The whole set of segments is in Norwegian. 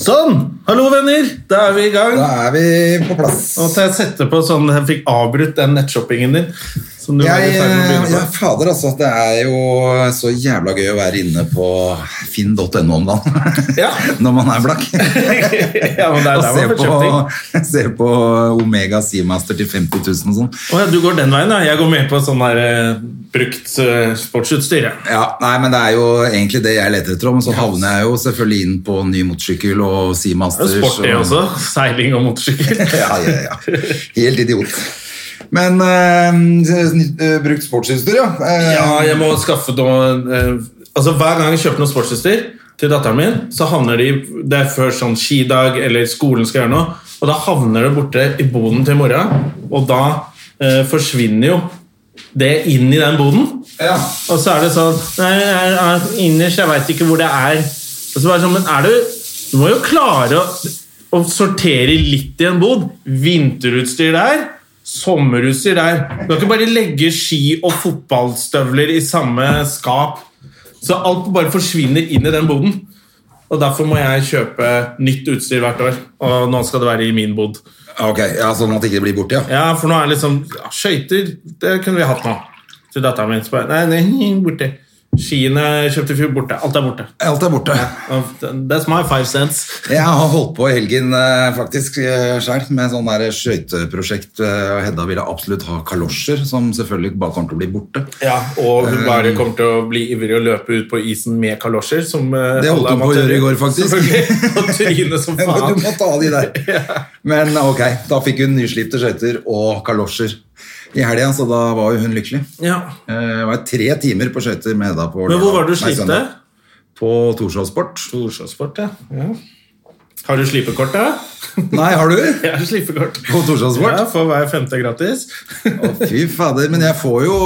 Sånn! Hallo, venner! Da er vi i gang. Da er vi på plass. Nå måtte jeg sette på sånn Jeg fikk avbrutt den nettshoppingen din. Som du var Jeg, i ferd med å begynne jeg på. fader altså, Det er jo så jævla gøy å være inne på finn.no om dagen. Ja. Når man er blakk. ja, men det er Og se der man får på, kjøpt ting. se på Omega Seamaster til 50 000 og sånn. Å ja, du går den veien, ja. Jeg går med på sånn der eh, brukt eh, sportsutstyr, ja. Ja, nei, men Det er jo egentlig det jeg leter etter, om, så havner jeg jo selvfølgelig inn på ny motorsykkel og Det er Seamasters. jo sport, det også. Seiling og motorsykkel. ja, ja, ja. Helt idiot. Men eh, brukt sportsutstyr, ja. Eh, Ja, jeg må skaffe noe eh, Altså Hver gang jeg kjøper noe sportsutstyr til datteren min, så havner de Det er før sånn skidag eller skolen skal gjøre noe, og da havner det borte i boden til mora, og da eh, forsvinner jo det inn i den boden. Ja. Og så er det sånn Nei, jeg er innerst, jeg veit ikke hvor det er. Og så bare sånn, Men er du Du må jo klare å, å sortere litt i en bod. Vinterutstyr der, sommerutstyr der. Du kan ikke bare legge ski og fotballstøvler i samme skap. Så alt bare forsvinner inn i den boden. Og derfor må jeg kjøpe nytt utstyr hvert år. Og nå skal det være i min bod. Ok, ja, Sånn at det ikke blir borte, ja. Ja, for nå er det liksom ja, Skøyter, det kunne vi hatt nå. Til datteren min. Så bare, nei, nei, borte. Skiene jeg kjøpte i fjor, borte. Alt er borte. Alt er borte. That's my five cents. Jeg har holdt på i helgen eh, faktisk sjøl med sånn der skøyteprosjekt. eh, og Hedda ville absolutt ha kalosjer, som selvfølgelig bare kommer til å bli borte. Ja, Og Eh. hun bare kommer til å bli ivrig og løpe ut på isen med kalosjer. Som eh, Det holdt alle hun på å gjøre i går, faktisk. Selvfølgelig. Og tryne som Du faen. må ta de der. Men eh, ok, da fikk hun nyslipte skøyter og kalosjer i helga, så da var jo hun lykkelig. Ja. Eh, Det var tre timer på skøyter med Hedda på Men hvor var det du Nei, slipte? søndag. På Torshov Sport. Torsdagskort, ja. ja. Har du slipekort, da? Nei, har du? Jeg har slipekort. På Torshov Sport? Ja, for hver femte er gratis. Å, fy fader. Men jeg får, jo,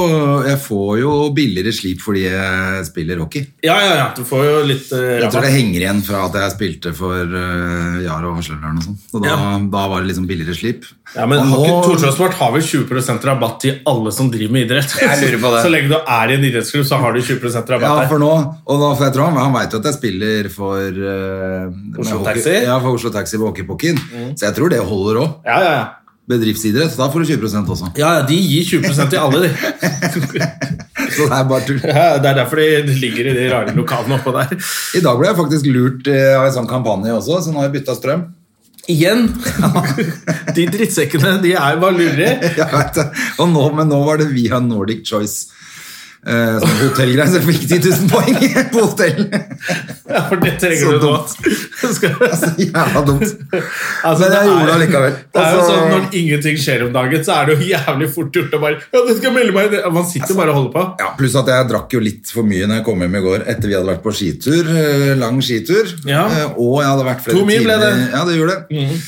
jeg får jo billigere slip fordi jeg spiller hockey. Ja, ja, ja. Du får jo litt eh, Jeg tror rabatt. det henger igjen fra at jeg spilte for uh, Yara og Hasleløren og sånn. Så da, Ja. da var det liksom billigere slip. Ja, men Og har ikke- nå- Torshov-sport har vel 20 rabatt til alle som driver med idrett? Jeg lurer på det. Så lenge du er i en idrettsklubb, så har du 20 rabatt Ja, der. for nå, og da, for jeg tror han, han vet jo at jeg spiller for eh, med Oslo hockey- Taxi? Mm. Ja, for Oslo Taxi på Hockeypokken. Så jeg tror det holder òg. Ja, ja, ja. Bedriftsidrett, da får du 20 også. Ja, ja, de gir 20 til alle, de. Så det er bare tull. Ja, det er derfor de ligger i de rare lokalene oppå der. I dag ble jeg faktisk lurt eh, av en sånn kampanje også, så nå har jeg bytta strøm. Igjen! De drittsekkene, de er jo bare lurere. Jeg vet det. Og nå, men nå var det via Nordic Choice. Uh, som hotellgreier, så jeg fikk 10 000 poeng på hotell. Ja, for det trenger Så du nå. dumt. Skal- altså, jævla dumt. Altså, Men jeg er- gjorde det allikevel. Det er jo Altså- sånn, Når ingenting skjer om dagen, så er det jo jævlig fort gjort å bare Ja, det skal jeg melde meg inn. Man sitter bare og holder på. Ja, Pluss at jeg drakk jo litt for mye når jeg kom hjem i går etter vi hadde vært på skitur. eh, Lang skitur. Ja. Eh, Og jeg hadde vært flere To mil ble timer- det. Ja, det gjorde det. Mm.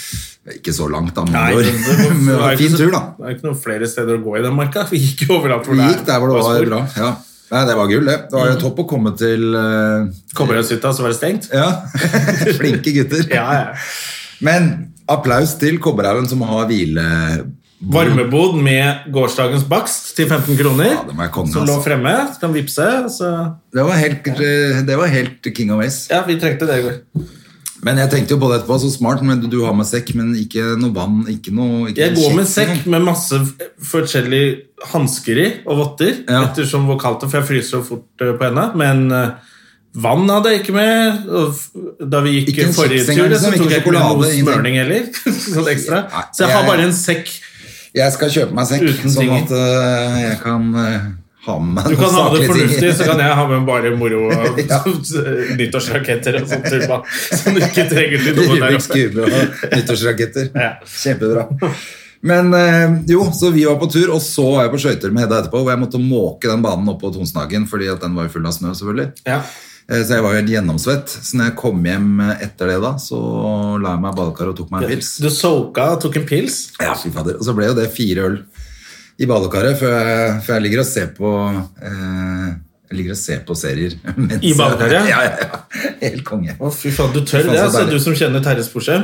Ikke så langt, da. Men, Nei, det men det var, var- men det var en ikke fin så- tur, da. Det er ikke noen flere steder å gå i den marka. Vi gikk jo overalt hvor Vi det Mm. er. gikk der hvor det var spor. bra. Ja. Nei, det var gull, det. Det var jo topp å komme til eh, Kommer jeg oss ut da, så var det stengt. Ja. Flinke gutter. Ja, ja. Men applaus til Kobberhaugen, som har hvile... Varmebod med gårsdagens bakst til 15 kroner. Ja, det må jeg komme, som lå altså. fremme. Så kan vippse. Så Det var helt, eh, det var helt king of ace. ja, vi trengte det i går. Men jeg tenkte jo på det etterpå. Så smart. Men du, du har med sekk, men ikke noe vann. Ikke noe ikke Jeg noe går med kjeks, sekk med masse forskjellige hansker i og votter. Ja. Ettersom hvor kaldt det for jeg fryser så fort eh, på henda. Men eh, vann hadde jeg ikke med. Og f- da vi gikk Ikke en forrige kjeks tur, engang, så liksom, tok ikke jeg ikke med sjokolade, noe ingenting. smørning heller. sånn ekstra. Nei, Så jeg har jeg- bare en sekk. Jeg skal kjøpe meg sekk, Uten sånn tinger. at eh, jeg kan eh, ha med meg Du kan ha det saklige fornuftig, så kan jeg ha med bare moro og eh, Ja. nyttårsraketter og sånt tull, da. Som du ikke trenger til noe der altså. Rubiks oppe. kube og nyttårsraketter. Ja. Kjempebra. Men eh, jo, så vi var på tur, og så var jeg på skøyter med Hedda etterpå, hvor jeg måtte måke den banen opp på Tonsenhagen fordi at den var jo full av snø, selvfølgelig. Ja. Eh, Så jeg var jo helt gjennomsvett. Så når jeg kom hjem etter det, da, så la jeg meg i badekaret og tok meg en pils. Du soka og tok en pils? Ja, fy fader. Og så ble jo det fire øl i badekaret, for jeg, for jeg ligger og ser på eh, jeg ligger og ser på serier. mens- I badekaret? Ja, ja, ja. Helt konge. Å, fy faen, du tør Faen, det, så altså, deilig. du som kjenner Terjes Porsche.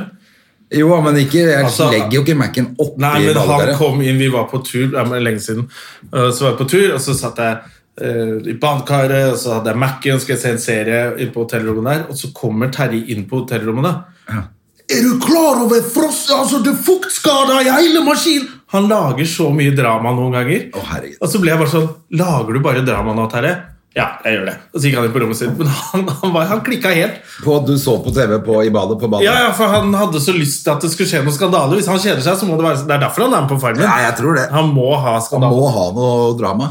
Jo, men ikke, jeg Altså- legger jo ikke Mac-en oppi Nei, men han badekaret. kom inn, vi var på tur, det er men lenge siden, Uh, så var jeg på tur, og så satt jeg eh, i badekaret, og så hadde jeg Mac-en, skal jeg se en serie inn på hotellrommet der, og så kommer Terje inn på hotellrommet da. Er du klar over frost, altså det er fuktskader i hele maskinen? Han lager så mye drama noen ganger. Å, herregud. Og så ble jeg bare sånn, lager du bare drama nå, Terje? Ja, jeg gjør det. Og så gikk han inn på rommet sitt, men han, han, var, han klikket helt. På at du så på TV på, i badet på badet? Ja, ja, for han hadde så lyst til at det skulle skje noen skandale. Hvis han kjeder seg, så må det være Det er derfor han er med på Farmen. Ja, jeg tror det. Han må ha Han skandale. må ha noe drama.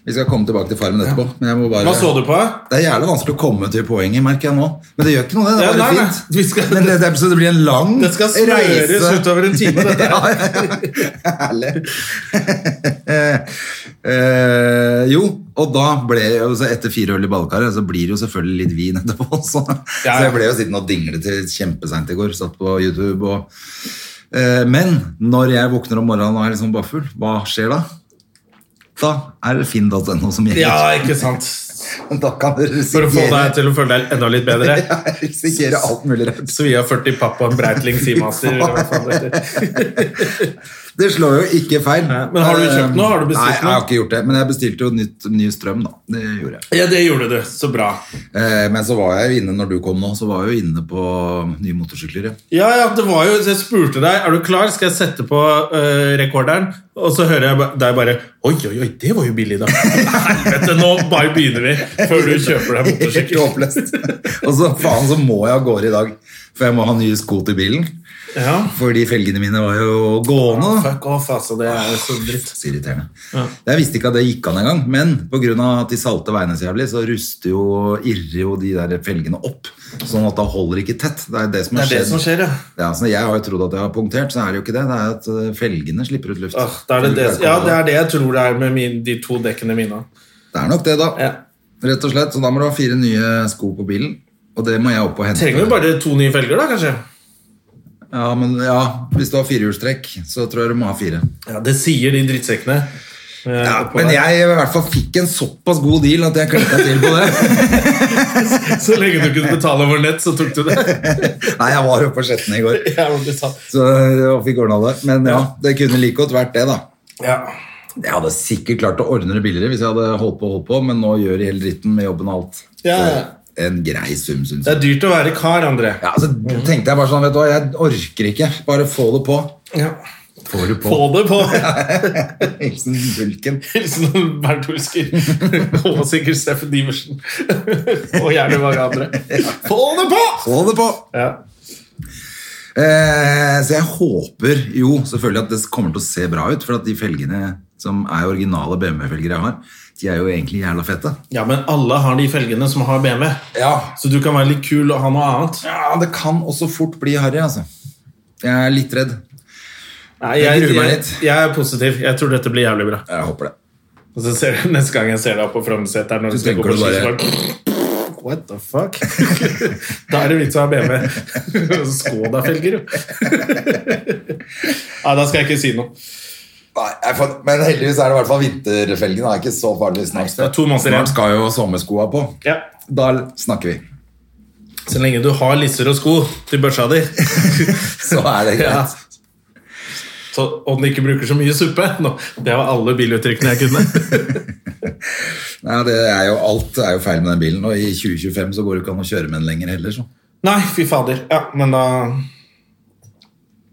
Vi skal komme tilbake til Farmen etterpå. Men jeg må bare... Hva så du på? Det er jævlig vanskelig å komme til poenget, merker jeg nå. Men det gjør ikke noe, det. Det Ja, er bare nei, nei. Vi fint. skal- Men det, det, så det blir en lang Det skal smøres utover en time, dette her. ja, ja, ja. Herlig. Eh, jo, og da ble jeg jo så etter fire øl i badekaret, så blir det jo selvfølgelig litt vin etterpå også. Ja, ja. Så jeg ble jo sittende og dingle til kjempeseint i går. Satt på YouTube og eh, Men når jeg våkner om morgenen og er liksom bakfull, hva skjer da? Da er det finn.no som gjelder. Ja, ikke sant? Da kan du For å få risikere deg til å føle deg enda litt bedre. jeg risikerer alt mulig rart. Så vi har 40 papp og en Breitling Seamaster. eller hva faen det heter. Det slår jo ikke feil. men har du kjøpt noe? Har du bestilt Nei, jeg har noe? ikke gjort det. Men jeg bestilte jo nytt, ny strøm, da. Det gjorde jeg. Ja, det gjorde du. Så bra. Eh, men så var jeg jo inne når du kom nå, så var jeg jo inne på nye motorsykler. ja. Ja, ja, det var jo, så Jeg spurte deg er du klar, skal jeg sette på øh, rekorderen. Og så hører jeg ba- deg bare Oi, oi, oi, det var jo billig, da. Helvete, nå bare begynner vi. Før du kjøper deg Helt motorsykkel. håpløst. Og så faen, så må jeg av gårde i dag. For jeg må ha nye sko til bilen. Ja. Fordi felgene mine var jo gående. da. Fuck off, altså. Det er så dritt. Så irriterende. Jeg visste ikke at det gikk an engang, men pga. at de salte veiene så jævlig, så ruster jo, irrer jo de der felgene opp. Sånn at da holder ikke tett. Det er det som Det har er det som skjer, ja. Ja, så Jeg har jo trodd at jeg har punktert, så er det jo ikke det. Det er at eh, felgene slipper ut luft. Åh, da er det det, ja, det er det jeg tror det er med min, de to dekkene mine. Det er nok det, da. Ja. Rett og slett. Så da må du ha fire nye sko på bilen. Og det må jeg opp og hente. Trenger jo bare to nye felger, da, kanskje? Ja, men ja, Hvis du har firehjulstrekk, så tror jeg du må ha fire. Ja, Det sier de drittsekkene. eh, Ja, oppå men der. jeg i hvert fall fikk en såpass god deal at jeg klikka til på det. Så lenge du kunne betale over nett, så tok du det. Nei, jeg var oppe på Skjetten i går, Ja, men du sa- så eh, jeg fikk ordna det. Men ja, det kunne like godt vært det, da. ja. Jeg hadde sikkert klart å ordne det billigere hvis jeg hadde holdt på, holdt på, men nå gjør de hele dritten med jobben og alt. Ja, Så ja. En grei sum, syns Det jeg. er dyrt å være kar, André. Ja, så tenkte jeg bare sånn, vet du hva, jeg orker ikke. Bare få det på. Ja. Få det på. Få det på! Hilsen Bulken. Hilsen Bernt Hulsker og sikkert Steffen Diversen. Og gjerne mange andre. Få det på! Få det på! Ja. Eh, så jeg håper jo selvfølgelig at det kommer til å se bra ut, for at de felgene som er originale BMW-felger jeg har, de er jo egentlig jævla fette. ja, men alle har de felgene som har BMW, Ja. så du kan være litt kul og ha noe annet. ja, det kan også fort bli harry, altså. Jeg er litt redd. Nei, Jeg jeg, gruer meg jeg, litt. jeg er positiv. Jeg tror dette blir jævlig bra. Jeg håper det. Og så ser du Neste gang jeg ser deg på Frognerseteren Så når du skal gå tenker på du bare- skispark What the fuck? da er det vits å ha BMW. Skoda-felger, jo. Nei, da skal jeg ikke si noe. Nei, jeg får, men heldigvis er det i hvert fall vinterfelgen. Det er ikke så farlig snart. det er to måneder igjen. snart skal jo sommerskoa på. Ja. Da snakker vi. Så lenge du har lisser og sko til børsa di, Så er det Ja. greit. så, og den ikke bruker så mye suppe nå, Det var alle biluttrykkene jeg kunne. Nei, det er jo, alt er jo feil med den bilen, og i 2025 så går det ikke an å kjøre med den lenger heller. Så. Nei, fy fader. Ja, men da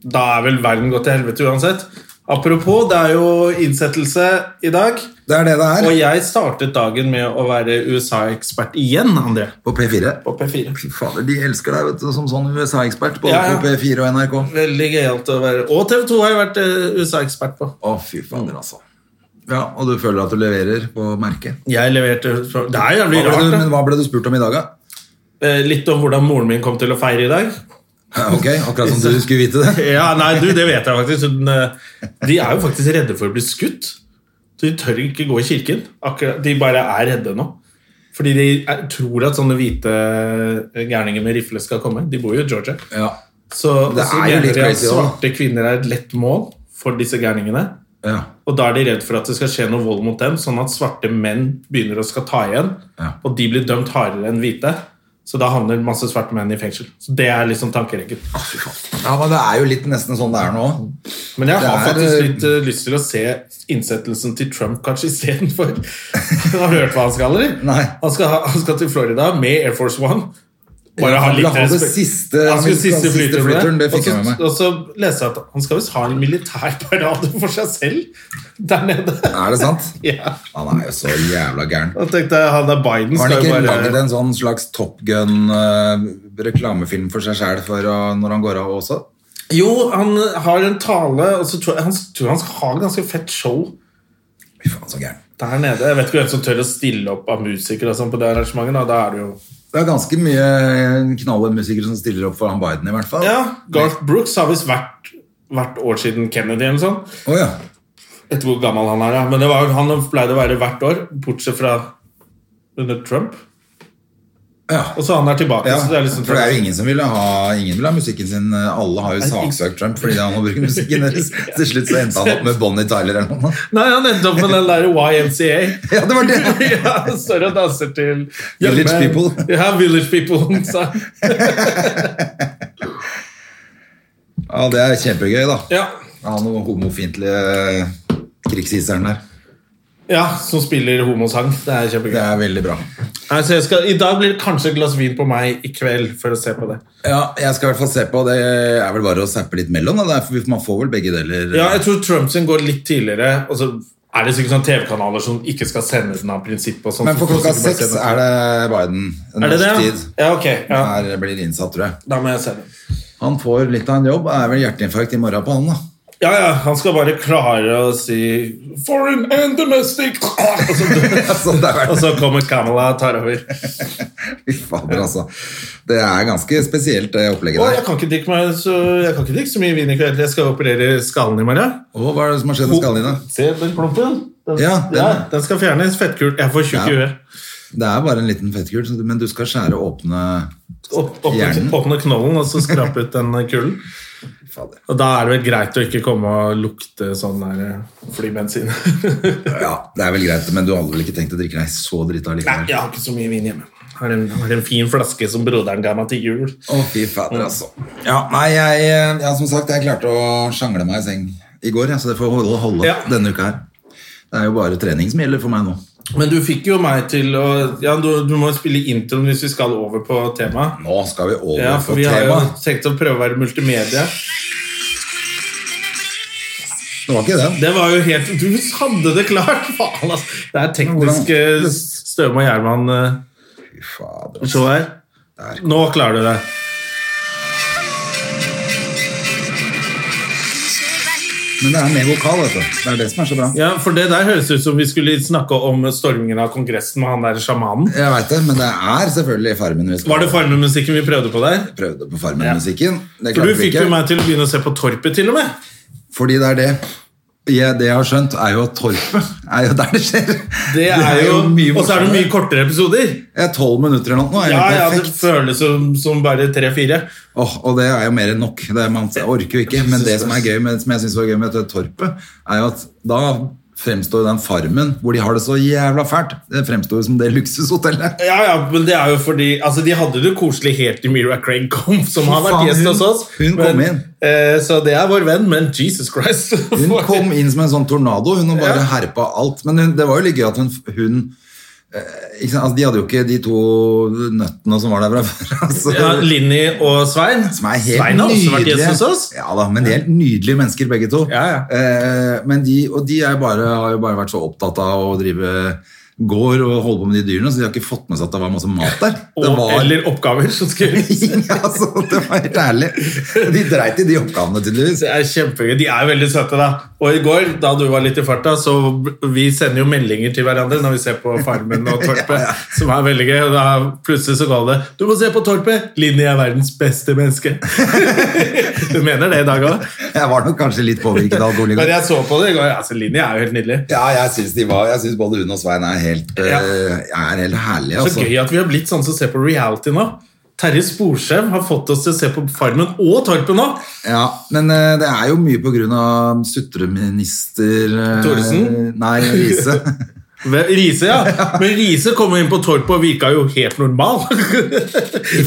Da er vel verden gått til helvete uansett. Apropos, det er jo innsettelse i dag. Det er det det Og er jeg startet dagen med å være USA-ekspert igjen, André. på P4. På P4. Fy fader, de elsker deg vet du, som sånn USA-ekspert, både Ja, ja. på P4 og NRK. Veldig gøyalt å være Og TV 2 har jeg vært eh, USA-ekspert på. Å, fy fader, altså. Ja, Og du føler at du leverer på merket. Jeg leverte Det er Hva ble jævlig du, rart. men da. hva ble du spurt om i dag, da? Eh, Litt om hvordan moren min kom til å feire i dag. Ja, Ok, akkurat som du skulle vite det. Ja, nei, du, det vet jeg faktisk. Hun, eh, De er jo faktisk redde for å bli skutt. Så de tør ikke gå i kirken. Akkurat, de bare er redde nå. Fordi de er- tror at sånne hvite eh, gærninger med rifle skal komme. De bor jo i Georgia. Ja. Så Det så er jo mener litt de at crazy, da. svarte kvinner er et lett mål for disse gærningene. Ja. Og da er de redd for at det skal skje noe vold mot dem, sånn at svarte menn begynner å skal ta igjen. Ja. Og de blir dømt hardere enn hvite. Så da havner masse svarte menn i fengsel. Så det er liksom tankerekken. ja, men det er jo litt nesten sånn det er nå. Men jeg har Det er, faktisk eh, litt eh, lyst til å se innsettelsen til Trump kanskje istedenfor. har du hørt hva han skal, eller? Nei. Han skal, ha- han skal til Florida med Air Force One. Bare ha Han litt ville ha det respekt. siste- han skulle siste den siste flyturen, med. flyturen, det fikk Og så- jeg med meg. Og så leste jeg at han skal visst ha en militærparade for seg selv der nede. Er det sant? Ja. Han er jo så jævla gæren. Da tenkte jeg han der Biden Har skal han jo ikke bare laget en sånn slags Top Gun-reklamefilm for seg sjæl når han går av også? Jo, han har en tale, og så tror jeg han, tror han skal ha et ganske fett show Fy faen, så gæren. der nede. Jeg vet ikke hvem som tør å stille opp av musikere og sånn på det arrangementet. Da, da er det jo Det er ganske mye eh, knalle musikere som stiller opp for han Biden, i hvert fall. Ja, Garth Brooks har visst vært hvert år siden Kennedy eller sånn. Å ja. Etter hvor gammel han er, ja. Men det var, han pleide å være hvert år, bortsett fra under Trump. Ja. Og så han er tilbake. Ja, så det er liksom for det er jo ingen som ville ha, ingen vil ha musikken sin. eh, Alle har jo Nei, ingen- saksøkt Trump fordi han har brukt musikken deres. Til slutt så endte han opp med Bonnie Tyler eller noe. Nei, han endte opp med den der YMCA. Ja, det var det! ja, han står og danser til Village Young Man. People. Ja, Village People. sa han. Ja, det er kjempegøy, da. ja. Han homofiendtlige krigshiseren der. ja, som spiller homosang. Det er kjempegøy. Det er veldig bra. Nei, så jeg skal, I dag blir det kanskje et glass vin på meg i kveld for å se på det. Ja, jeg skal i hvert fall se på. Det er vel bare å zappe litt mellom. Da. Det er- Man får vel begge deler. Ja, jeg tror Trump sin går litt tidligere. Og så er det sikkert sånn TV-kanaler som ikke skal sende den av prinsipp. Og sånt, Men for så klokka folk seks sikkert bare er det Biden. Er det det? Norsk tid. Ja, ok. Ja. Der blir innsatt, tror jeg. Da må jeg se den. Han får litt av en jobb. Det er vel hjerteinfarkt i morgen på han, da. Ja, ja, han skal bare klare å si 'foreign and domestic', og så, Så Altså, det er vel- og så kommer Kamala og tar over. Fy fader, altså. Det er ganske spesielt, det opplegget Og jeg der. kan ikke drikke meg så, jeg kan ikke drikke så mye vin i kveld. Jeg skal operere skallen i morgen. Å, hva er det som har skjedd med skallen din, da? Se den klumpen. Den, Ja, den- den skal fjernes. Fettkult. Jeg får tjukk Ja. i huet. Det er bare en liten fettkul, så du- men du skal skjære åpne Opp- Åpne Hjernen. åpne knollen og så skrape ut den kullen. Fader. Og da er det vel greit å ikke komme og lukte sånn der eh, flybensin. Nei, Ja, det er vel greit, men du hadde vel ikke tenkt å drikke deg så drita likevel? jeg har ikke så mye vin hjemme. Har en, har en fin flaske som broderen ga meg til jul. Å, fy fader, altså. Ja, nei, jeg, eh, ja, som sagt, jeg klarte å sjangle meg i seng i går, ja, så det får holde, holde Ja. denne uka her. Det er jo bare trening som gjelder for meg nå. Men du fikk jo meg til å Ja, du, du må spille introen hvis vi skal over på temaet. Nå skal vi over Ja, på for vi har jo temaet. tenkt å prøve å være multimedia. Det var ikke den. Det var jo helt Du hadde det klart! Faen, altså. Det er teknisk eh, Støme og Gjerman-show Fy fader, altså. her. Der. Nå klarer du det. Men det er med vokal, vet du. Det er det som er så bra. Ja, for det der høres ut som vi skulle snakke om stormingen av kongressen med han der sjamanen. Jeg veit det, men det er selvfølgelig Farmen vi skal Var det farmemusikken vi prøvde på der? prøvde på Farmen-musikken. Det For klarte vi du fikk ikke. jo meg til å begynne å se på Torpet, til og med. Fordi det er det. Jeg, det jeg har skjønt, er jo at torpet er jo der det skjer. Det er jo, Og så er det mye morsommere. kortere episoder. Jeg er tolv minutter eller noe. nå, Er Ja, ja, det det perfekt. føles som, som bare tre-fire. Åh, og det er jo mer enn nok. Det er, man orker jo ikke. Men det som er gøy med, som jeg synes var gøy med dette torpet, er jo at da fremstår den farmen hvor de har det så jævla fælt, det fremstår jo som det luksushotellet. Ja, ja, men det er jo fordi Altså, de hadde det koselig helt til Mira Craig kom, som har vært Faen, gjest hun- hos oss. hun men, kom inn. Eh, så det er vår venn, men Jesus Christ. Hun kom inn som en sånn tornado. Hun har bare Ja. herpa alt. Men hun, det var jo litt gøy at hun, hun eh, ikke sant? Altså, De hadde jo ikke de to nøttene som var der fra før. Altså. Ja, Linni og Svein. Som er helt Svein har også vært nydelige. gjest hos oss. Ja da, men de er helt nydelige mennesker begge to. Ja, ja. Eh, men de, og de er bare, har jo bare vært så opptatt av å drive gård og holde på med de dyrene, så de har ikke fått med seg at det var masse mat der. Og, Det var Eller oppgaver som skulle altså, det var helt ærlig. De dreit i de oppgavene, tydeligvis. Det er kjempegøy. De er jo veldig søte, da. Og i går, da du var litt i farta, så vi sender jo meldinger til hverandre når vi ser på Farmen og Torpet, som er veldig gøy. Og da plutselig så går det 'Du må se på Torpet! Linni er verdens beste menneske'. du mener det i dag òg? Jeg var nok kanskje litt påvirket av alkohol i Men går. jeg så på det i går. Altså, Linni er jo helt nydelig. Ja, jeg syns de var Jeg synes både hun og Svein er helt, øh, Ja. er helt herlige. Så Altså. gøy at vi har blitt sånn som ser på reality nå. Terje Sporsem har fått oss til å se på Farmen og Torpet nå. Ja, men øh, det er jo mye på grunn av sutreminister øh, Thoresen? Nei, Riise. Ve- Riise, ja. Men Riise kom jo inn på torpet og virka jo helt normal.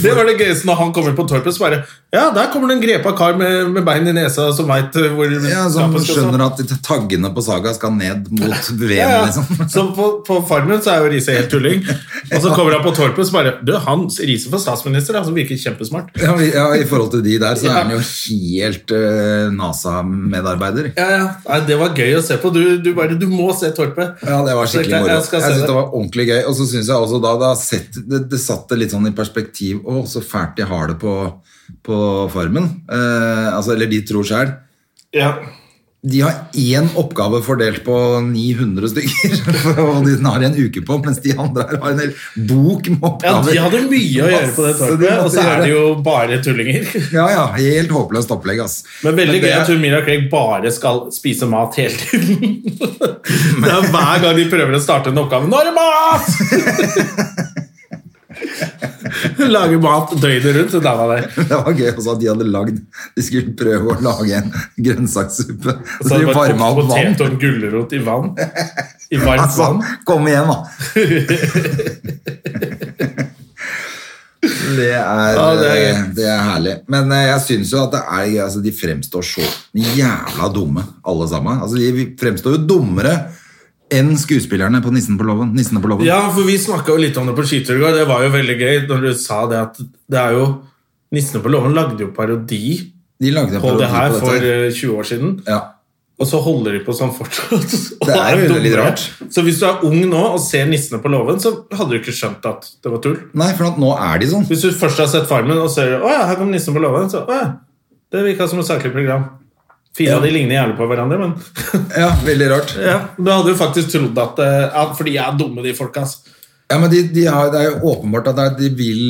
Det var det gøyeste når han kom inn på torpet. Så bare Ja, der kommer det en grepa kar med, med bein i nesa som veit hvor ja, som skapet stå. skjønner at de taggene på Saga skal ned mot VM, ja, ja. liksom. Så på, på Farmen så er jo Riise helt tulling. Og så kommer han på torpet så bare Du, han Riise for statsminister, han som virker kjempesmart. Ja, i- ja, I forhold til de der, så Ja. er han jo helt øh, NASA-medarbeider. Ja, ja. Nei, det var gøy å se på. Du, du bare Du må se torpet. Ja, det var skikkelig Så jeg- moro. jeg Jeg, skal se synes det. det var ordentlig gøy. Og så synes jeg også da, da sett, det, det satte litt sånn i perspektiv Å, så fælt de har det på, på farmen. Eh, altså, eller de tror selv Ja. De har én oppgave fordelt på 900 stykker, og de har en uke på, mens de andre her har en hel bok med ja, oppgaver. de hadde mye å gjøre på det Masse de torpet, måtte og så er gjøre. det jo bare tullinger. Ja, ja. Helt håpløst opplegg, ass. Men veldig det- gøy at hun Mira Craig bare skal spise mat hele tiden. det er Hver gang de prøver å starte en oppgave 'Nå er det mat!' Hun lager mat døgnet rundt, hun dama der. Det var gøy også at de hadde lagd De skulle prøve å lage en grønnsakssuppe. Og Så hadde de det bare varma kokt opp vann. potet og en gulrot i vann. I varmt Altså, vann. kom igjen, da! Det er, eh, Ja, det er gøy. det er herlig. Men eh, jeg syns jo at det er gøy. Altså, de fremstår så jævla dumme, alle sammen. Altså, de fremstår jo dummere enn skuespillerne på Nissen på låven. Nissene på låven. Ja, for vi snakka jo litt om det på skitur i går. Det var jo veldig gøy når du sa det at det er jo Nissene på låven lagde jo parodi De lagde en på det parodi her på for dette. eh, 20 år siden. ja. Og så holder de på sånn fortsatt. Og Det er jo dummere. veldig rart. Så hvis du er ung nå og ser Nissene på låven, så hadde du ikke skjønt at det var tull. Nei, for at nå er de sånn. Hvis du først har sett Farmen og ser Å ja, her kom Nissen på låven, så å ja, det virka som et saklig program. Fire av de ligner jævlig på hverandre, men Ja, veldig rart. ja, Du hadde jo faktisk trodd at eh, ja, For de er dumme, de folka. ass. Ja, men de, de har, Det er jo åpenbart at det er- de vil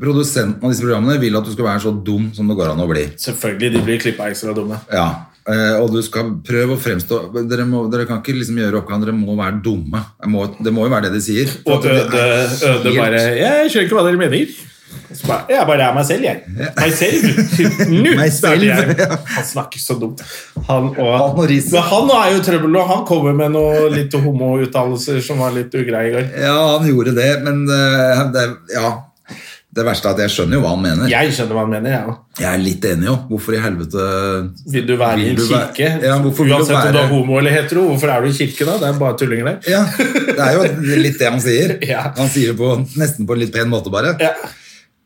Produsenten av disse programmene vil at du skal være så dum som det går an å bli. Selvfølgelig, de blir klippa ekstra dumme. Ja, eh, og du skal prøve å fremstå Dere, må, dere kan ikke liksom gjøre oppgaven, dere må være dumme. Jeg Må, det må jo være det de sier. For Og at det- Øde, øde helt- bare Jeg skjønner ikke hva dere mener. Og så bare, Jeg bare er meg selv, jeg. Meg selv? Nå Meg starter selv, jeg. ja. Han snakker så dumt. Han og, Han og Riise. Men han er jo i trøbbel, og han kommer med noen litt homouttalelser som var litt ugreie i går. Ja, han gjorde det, men eh, det, ja. Det verste er at jeg skjønner jo hva han mener. Jeg skjønner hva han mener, jeg òg. Jeg er litt enig jo. Hvorfor i helvete Vil du være i Vil en du være- kirke? Ja, hvorfor vil du Uansett om du være- er homo eller hetero, hvorfor er du i kirke da? Det er bare tullinger der. Ja, det er jo litt det han sier. Ja. Han sier det på, nesten på en litt pen måte, bare. Ja.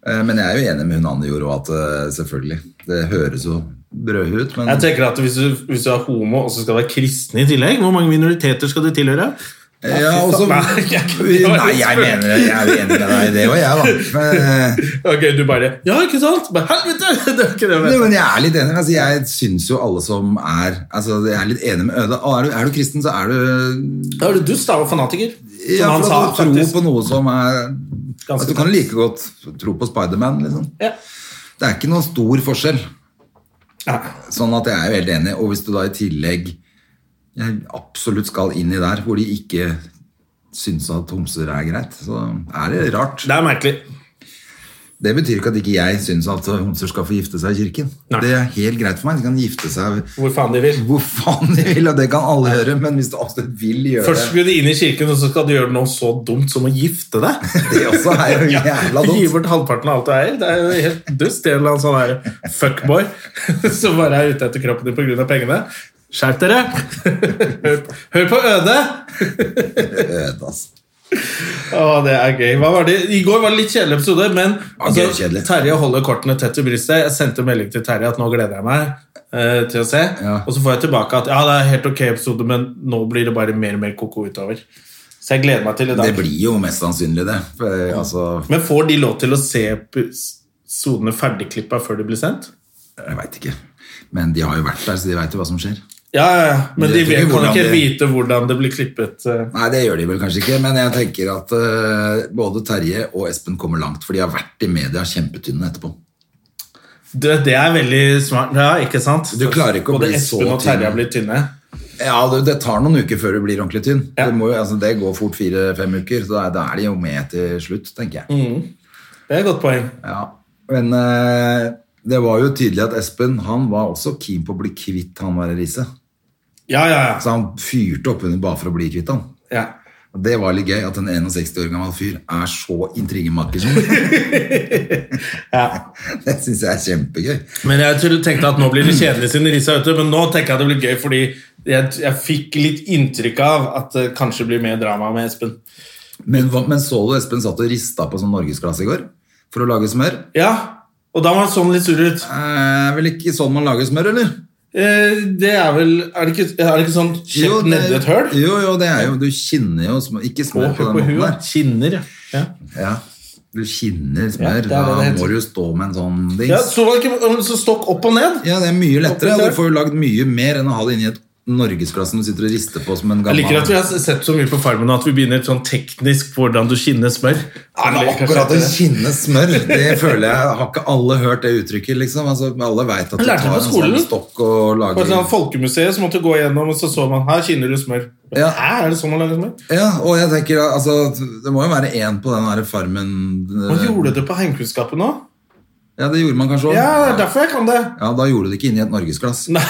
Eh, Men jeg er jo enig med hun Anne Joro at eh, selvfølgelig Det høres jo brødhue ut, men Jeg tenker at hvis du, hvis du er homo og så skal du være kristen i tillegg, hvor mange minoriteter skal du tilhøre? ja, også, Nei, Nei, jeg- jeg mener det. Jeg er jo enig med deg i det òg, jeg, da. Men, eh, Ok, du bare Ja, ikke sant? Bare, Helvete! Det er ikke det jeg Nei, mener. men jeg er litt enig. Altså, jeg syns jo alle som er altså, Jeg er litt enig med Øde. Ah, Er du, er du kristen, så er du Da er du dust, da, og fanatiker. Som ja, han for sa, at du tror faktisk. på noe som er Ganske altså, Du kan like godt tro på Spiderman, liksom. Ja. Det er ikke noen stor forskjell. Ja. Sånn at jeg er jo helt enig. Og hvis du da i tillegg jeg absolutt skal inn i der hvor de ikke syns at homser er greit, så er det rart. Det er merkelig. Det betyr ikke at ikke jeg syns at homser skal få gifte seg i kirken. Nei. Det er helt greit for meg. De kan gifte seg Hvor faen de vil. hvor faen de vil, og det kan alle gjøre, men hvis du absolutt vil gjøre Først skulle de inn i kirken, og så skal du gjøre noe så dumt som å gifte deg. det også, er jo jævla Gi dumt. bort halvparten av alt du eier. Det er jo helt dust. Det er En eller annen sånn her fuckboy som bare er ute etter kroppen din pga. pengene. Skjerp dere! Hør- Hør på Øde! Øde, altså. Å, det er gøy. Hva var det? I går var det litt kjedelig episode, men altså, Ja, gøy, kjedelig. Terje holder kortene tett til brystet. Jeg sendte melding til Terje at nå gleder jeg meg eh, til å se. Ja. Og så får jeg tilbake at ja, det er helt ok episode, men nå blir det bare mer og mer koko utover. Så jeg gleder meg til i dag. Det blir jo mest sannsynlig det. For, Altså, Men får de lov til å se episodene ferdigklippa før de blir sendt? jeg veit ikke. Men de har jo vært der, så de veit jo hva som skjer. Ja, ja, ja. Men De de vet vet, ikke kan hvordan ikke det- vite hvordan det blir klippet. eh. Nei, det gjør de vel kanskje ikke, men jeg tenker at eh, både Terje og Espen kommer langt, for de har vært i media kjempetynne etterpå. Det, det er veldig smart. Ja, ikke sant? Du klarer ikke å Både bli så Espen og Terje tynn. har blitt tynne. Ja, det, det tar noen uker før du blir ordentlig tynn. Ja. Det, må, jo- altså, det går fort fire-fem uker, så da er, da er de jo med til slutt, tenker jeg. Det er et godt poeng. Ja. Men eh, det var jo tydelig at Espen han var også keen på å bli kvitt han var i riset. Ja, ja, ja. Så han fyrte opp under bare for å bli kvitt han. ja. Og Det var litt gøy at en 61 år gammel fyr er så intrigemaker som det. Det syns jeg er kjempegøy. Men jeg tror- tenkte at nå blir det kjedelig siden Risa er ute, men nå tenker jeg det blir gøy fordi jeg, jeg fikk litt inntrykk av at det kanskje blir mer drama med Espen. Men, hva- men så du Espen satt og rista på sånn norgesglass i går for å lage smør? Ja, og da var han sånn litt sur ut. Eh, vel ikke sånn man lager smør, eller? Eh, det er vel Er det ikke, er det ikke sånn Jo, kjeft det- nedi et høl? Jo, jo, det er jo Du kinner jo smør. Ikke smør Og på på den måten huet. der. Kinner, ja. ja. Ja. Du kinner Ja, smør. det er det da det må heter. du jo stå med en sånn dings. ja så, var det ikke, så stokk opp og ned. Ja, det er mye lettere. Opp i og tær. Du får jo lagd mye mer enn å ha det inni et norgesglass som du sitter og rister på som en Jeg gammel liker at vi har sett så mye på Farmen at vi begynner sånn teknisk på hvordan du skinner smør. Ja, men akkurat å kinne smør, det føler jeg Har ikke alle hørt det uttrykket, liksom? Altså, alle veit at du Lærte tar på en sånn skolen. stokk og På lager et eller annet folkemuseet så måtte du gå gjennom, og så så man her kinner du smør. Ja. Hæ, er det sånn man lager smør? Ja, og jeg tenker altså Det må jo være én på den der farmen Hva gjorde du på heimkunnskapen nå? Ja, det gjorde man kanskje òg. Ja, det er derfor jeg kan det. Ja, da gjorde du det ikke inni et norgesglass. Nei,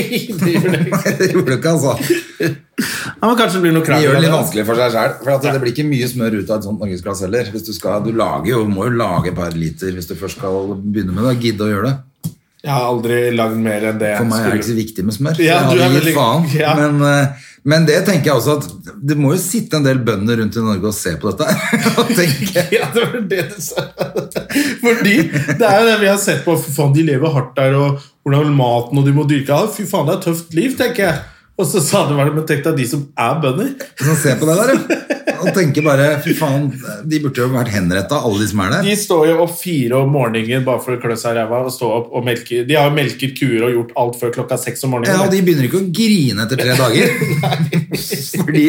det gjør det ikke. det gjorde du ikke, altså. Ja, men kanskje det blir noe De krangel. gjør det litt av det. vanskelig for seg sjøl. For at det blir ikke mye smør ut av et sånt norgesglass heller. Hvis du, skal, du lager jo, må jo lage et par liter hvis du først skal begynne med det. Gidde å gjøre det. Jeg har aldri lagd mer enn det jeg For meg er det ikke så skulle. viktig med smør. Ja, jeg du hadde er gitt veldig- faen. ja. Men, eh, men det tenker jeg også at det må jo sitte en del bønder rundt i Norge og se på dette her. og tenke, Ja, det var det du sa. Fordi det er jo det vi har sett på. Fy faen, de lever hardt der, og hvordan maten og de må dyrke av. Fy faen, det er tøft liv, tenker jeg. Og så sa det var det, men tenk deg de som er bønder. sånn, se på det der, ja. Og tenke bare Fy faen, de burde jo vært henretta, alle de som er der. De står jo opp fire om morgenen bare for å klø seg i ræva og stå opp og melke. De har jo melket kuer og gjort alt før klokka seks om Ja, og morgenen. de begynner ikke å grine etter tre dager. fordi,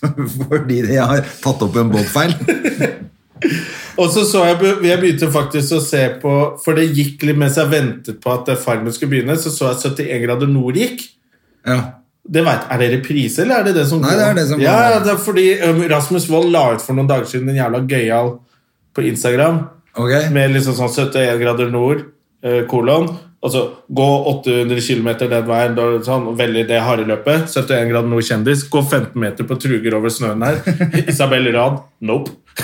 fordi de har tatt opp en båtfeil. Og så så jeg, be- jeg begynte faktisk å se på For det gikk litt mens jeg ventet på at eh, Farmen skulle begynne, så så jeg 71 grader nord gikk. Ja. Det vet, er det reprise, eller er det det som Nei, det er det som går. ja, ja, det er fordi um, Rasmus Wold la ut for noen dager siden en jævla gøyal på Instagram Ok? med liksom sånn 71 grader nord, eh, kolon, og så gå 800 km den veien, da, sånn, og velge det harde løpet. 71 grader nord kjendis, gå 15 meter på truger over snøen her. Isabel Rad, nope.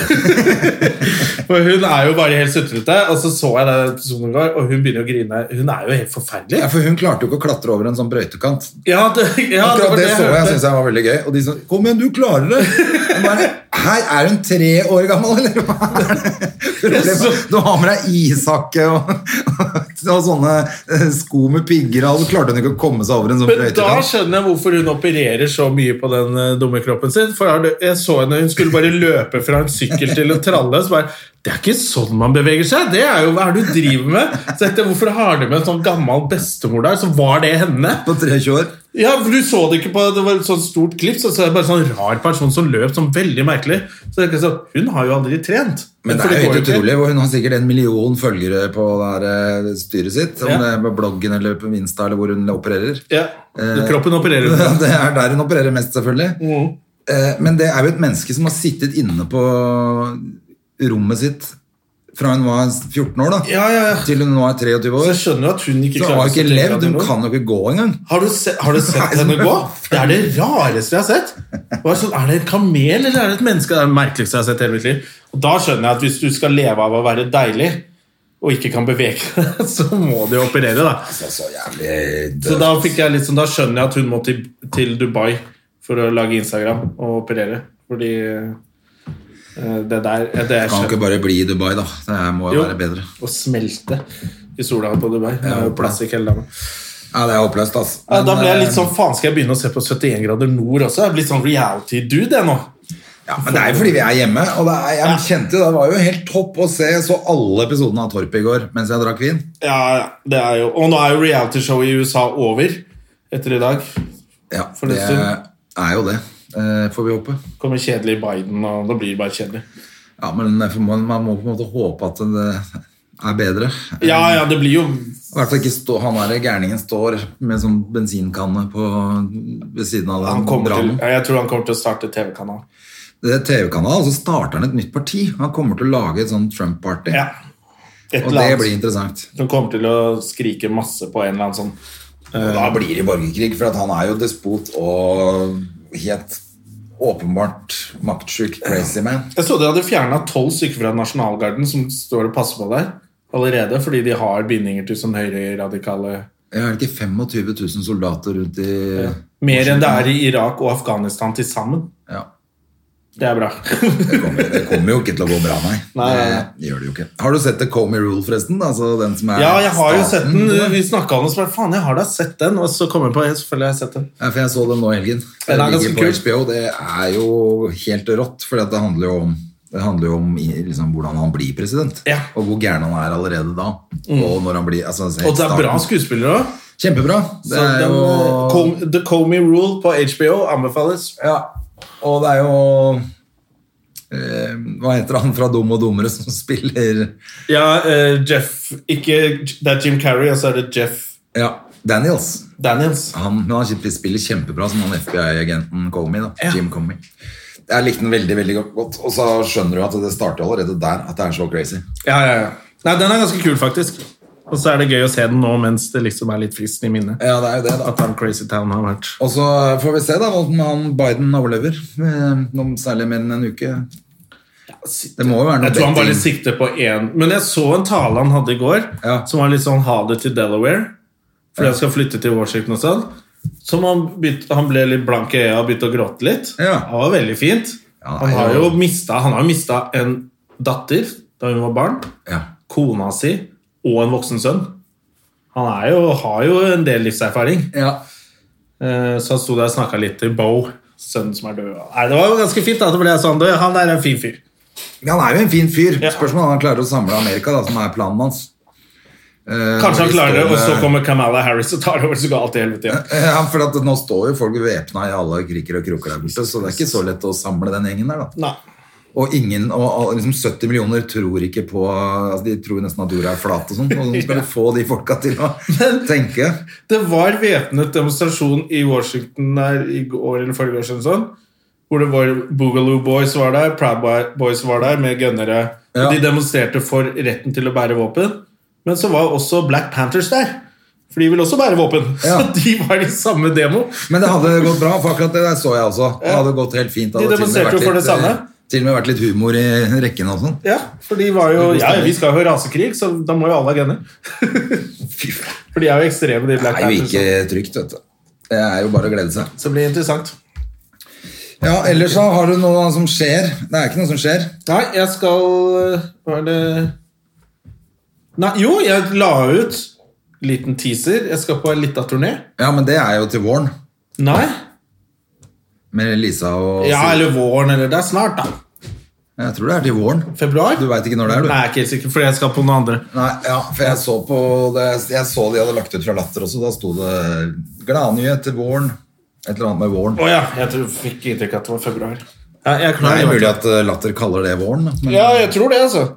For hun er jo bare helt sutrete, og så så jeg den episoden i går, og hun begynner å grine. Hun er jo helt forferdelig. Ja, for hun klarte jo ikke å klatre over en sånn brøytekant. Ja, det, ja, det, Akkurat var det, jeg så jeg, hørte. synes jeg var veldig gøy. Og de sa 'Kom igjen, du klarer det'. Jeg Bare, Her er hun tre år gammel, eller hva er det? Problemet- Du har med deg ishakke og, og sånne eh, sko med pigger og alt. Klarte hun ikke å komme seg over en sånn Men da brøytekant? skjønner jeg hvorfor hun opererer så mye på den eh, dumme kroppen sin. For jeg har- jeg så henne, Hun skulle bare løpe fra en sykkel til en tralle. Så bare, Det er ikke sånn man beveger seg! Det er jo hva er det du driver med? Så tenkte jeg, Hvorfor har du med en sånn gammel bestemor der? Så var det henne? På 23 år. Ja, for Du så det ikke på Det var et sånt stort klipp, så så er det bare en sånn rar person som løp sånn veldig merkelig. Så tenkte jeg sånn, Hun har jo aldri trent. Men det For er jo går helt ikke. utrolig. Hun har sikkert en million følgere på det her, eh, styret sitt. Om Ja. det er på bloggen eller på Insta eller hvor hun opererer. Ja, Eh, Kroppen opererer hun. Det er der hun opererer mest, selvfølgelig. Mm. Eh, Men det er jo et menneske som har sittet inne på rommet sitt fra hun var 14 år da, Ja, ja, ja. til hun nå er 23 Så år. jeg skjønner jo at hun ikke Så hun har jo ikke klarer å tenke at levd, hun noe. kan jo ikke gå engang. Har du, se, har du sett henne gå? Det er det rareste jeg har sett. Det var sånn, er det en kamel eller er det et menneske? Det er det merkeligste jeg har sett i hele mitt liv. Og da skjønner jeg at hvis du skal leve av å være deilig, og ikke kan bevege deg, så må du jo operere, da. Altså, Så, så jævlig Så død. da, fikk jeg litt sånn, da skjønner jeg at hun må til, til Dubai for å lage Instagram og operere. Fordi eh, det der det er Kan hun ikke skjønt. bare bli i Dubai, da. Det her må jo Jo, være bedre. å smelte i sola på Dubai. Det er jo plastikk hele dagen. Ja, det er oppløst, altså. Ja, da Men, ble jeg litt eh, sånn, faen skal jeg begynne å se på 71 grader nord også? Jeg er blitt sånn reality-dude jeg nå. Ja, men det er jo fordi vi er hjemme, og det er, jeg kjente det var jo helt topp å se så alle episodene av Torp i går mens jeg drakk vin. Ja, ja, det er jo, og nå er jo realityshow i USA over. Eh, etter i dag. Ja, For det neste stund. er jo det, eh, får vi håpe. Kommer kjedelig Biden, og da blir det bare kjedelig. Ja, men derfor må- man må på en måte håpe at det er bedre. Ja, ja, det blir jo I hvert fall ikke stå, han der gærningen står med sånn bensinkanne på, ved siden av han den kommer til, brannen. ja, Jeg tror han kommer til å starte TV-kanal. Det er TV-kanal, og så starter han et nytt parti. Han kommer til å lage et sånn Trump-party. Ja. Et og eller det annet blir interessant. som kommer til å skrike masse på en eller annen sånn Og da blir det borgerkrig, for at han er jo despot og helt åpenbart maktsjuk crazy man. Jeg så de hadde fjerna tolv stykker fra Nasjonalgarden som står og passer på der allerede, fordi de har bindinger til sånn høyreradikale Jeg har ikke 25 000 soldater rundt i Mer enn det er i Irak og Afghanistan til sammen. Ja. Det er bra. Det kommer, det kommer jo ikke til å gå bra, nei. Nei, nei, nei. Det gjør det jo ikke. Har du sett The Comey Rule, forresten? Altså den som er Ja, jeg har jo sett staten? den. Vi snakka om den, så bare faen, jeg har da sett den. Og så kommer jeg på ja, selvfølgelig har jeg sett den. Ja, for jeg så den nå i helgen. Den er Det ligger ganske på kul. HBO, det er jo helt rått, for det handler jo om, det handler jo om i- liksom, hvordan han blir president, Ja. Mm. og hvor gæren han er allerede da. Og når han blir, altså, helt Og det er bra starten. skuespillere òg. Kjempebra. Det er jo... eh, The Comey Rule på HBO anbefales. Ja, og det er jo... Eh, hva heter han fra Dum og Dummere som spiller... Ja, eh, Jeff Ikke Det er Jim Carrey, og så er det Jeff Ja, Daniels. Daniels. Han, men han spiller kjempebra som han FBI-agenten Comey. da, Ja. Jim Comey. Jeg likte den veldig veldig godt, og så skjønner du at det starter allerede der. At det er så crazy. Ja, ja, ja. Nei, den er ganske kul, faktisk. Og så er det gøy å se den nå mens det liksom er litt frist i minnet. Ja, det er jo det, da. At han Crazy Town har vært Og så får vi se da om han Biden overlever. eh, Om særlig mer enn en uke. Det må jo være noe Jeg tror han bare betting. sikter på én. Men jeg så en tale han hadde i går, Ja. som var litt sånn ha det til Delaware. Fordi han skal flytte til Washington og sånn. Som han, begynte, han ble litt blank i øya og begynte å gråte litt. Ja. Det var veldig fint. Ja, han nei, har ja. jo mista, han har jo mista en datter da hun var barn, Ja. kona si og en voksen sønn. Han er jo, har jo en del livserfaring. Ja. Eh, Så han sto der og snakka litt til Bo, sønnen som er død. Nei, det var jo ganske fint. da, det ble sånn, «Du, Han er en fin fyr. Han er jo en fin fyr. Ja. Spørsmålet er om han klarer å samle Amerika, da, som er planen hans. Eh, Kanskje når han de klarer det, står og så med- kommer Kamala Harris og tar over. så går alt til helvete igjen. Ja, for at nå står jo folk væpna i alle kriker og kroker der borte, så det er ikke så lett å samle den gjengen der, da. Nei. Og, ingen, og, og liksom 70 millioner tror ikke på altså De tror nesten at jorda er flat og sånn. Og så skal du få de folka til å tenke. Det var væpnet demonstrasjon i Washington der i går eller forrige år siden. Sånn, hvor det var Boogaloo Boys var der, Proud Boy- Boys var der med gønnere. Ja. Og de demonstrerte for retten til å bære våpen. Men så var også Black Panthers der. For de ville også bære våpen. Ja. Så de var i samme demo. Men det hadde gått bra, for akkurat det der så jeg også. Det hadde gått helt fint. De hadde til og med demonstrerte jo vært for det litt, samme. eh, Til og med vært litt humor i rekken og sånn. Ja, for de var jo Det er god Ja, stemning. vi skal jo ha rasekrig, så da må jo alle ha gønner. Fy faen. For de er jo ekstreme, de Det Black er jo Panthers. ikke trygt, vet du. Det er jo bare å glede seg. Så det blir interessant. Ja, ellers så har du noe som skjer. Det er ikke noe som skjer. Nei, jeg skal eh, Hva er det Nei, jo, jeg la ut liten teaser. Jeg skal på en lita turné. Ja, men det er jo til våren. Nei? Med Lisa og Ja, Siv. eller våren, eller det er snart, da. Jeg tror det er til våren. Februar? Du veit ikke når det er, du. Nei, jeg er ikke helt sikker, for jeg skal på noen andre. Nei, ja, for jeg så på det, Jeg så de hadde lagt ut fra Latter også. Da sto det 'Gladnyhet til våren'. Et eller annet med våren. Å ja, jeg tror, fikk inntrykk av at det var februar. Ja, jeg er Det klar. er mulig at eh, Latter kaller det våren. da, Men, Ja, jeg tror det, altså.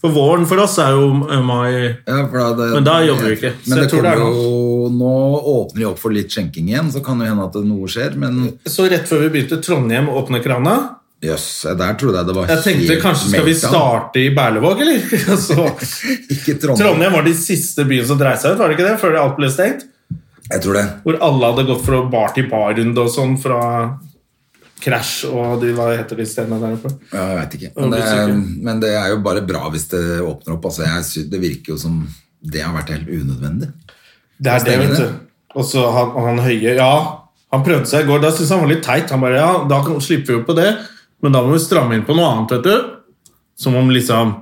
For våren for oss er jo eh, mai Ja, for da, det, Men da jobber vi ikke, så Men jeg det tror det kommer er jo Nå åpner de opp for litt skjenking igjen, så kan det jo hende at det noe skjer, men Så rett før vi begynte, Trondheim åpne krana. jøss, der trodde jeg det var Jeg tenkte helt kanskje skal vi meltdown. starte i Berlevåg, eller? Så Ikke Trondheim. Trondheim var de siste byene som dreide seg ut, var det ikke det? Før alt ble stengt. Jeg tror det. Hvor alle hadde gått fra bar til bar-runde og sånn fra Crash og de, hva heter de stedene der oppe. Ja, jeg veit ikke. Men det, er, men det er jo bare bra hvis det åpner opp. Altså, jeg sy- det virker jo som det har vært helt unødvendig. Det er det, Stemmer vet det. du. Og så han, og han Høie, ja. Han prøvde seg i går, da syntes han var litt teit. Han bare, ja, da kan- slipper vi jo på det, men da må vi stramme inn på noe annet, vet du. Som om liksom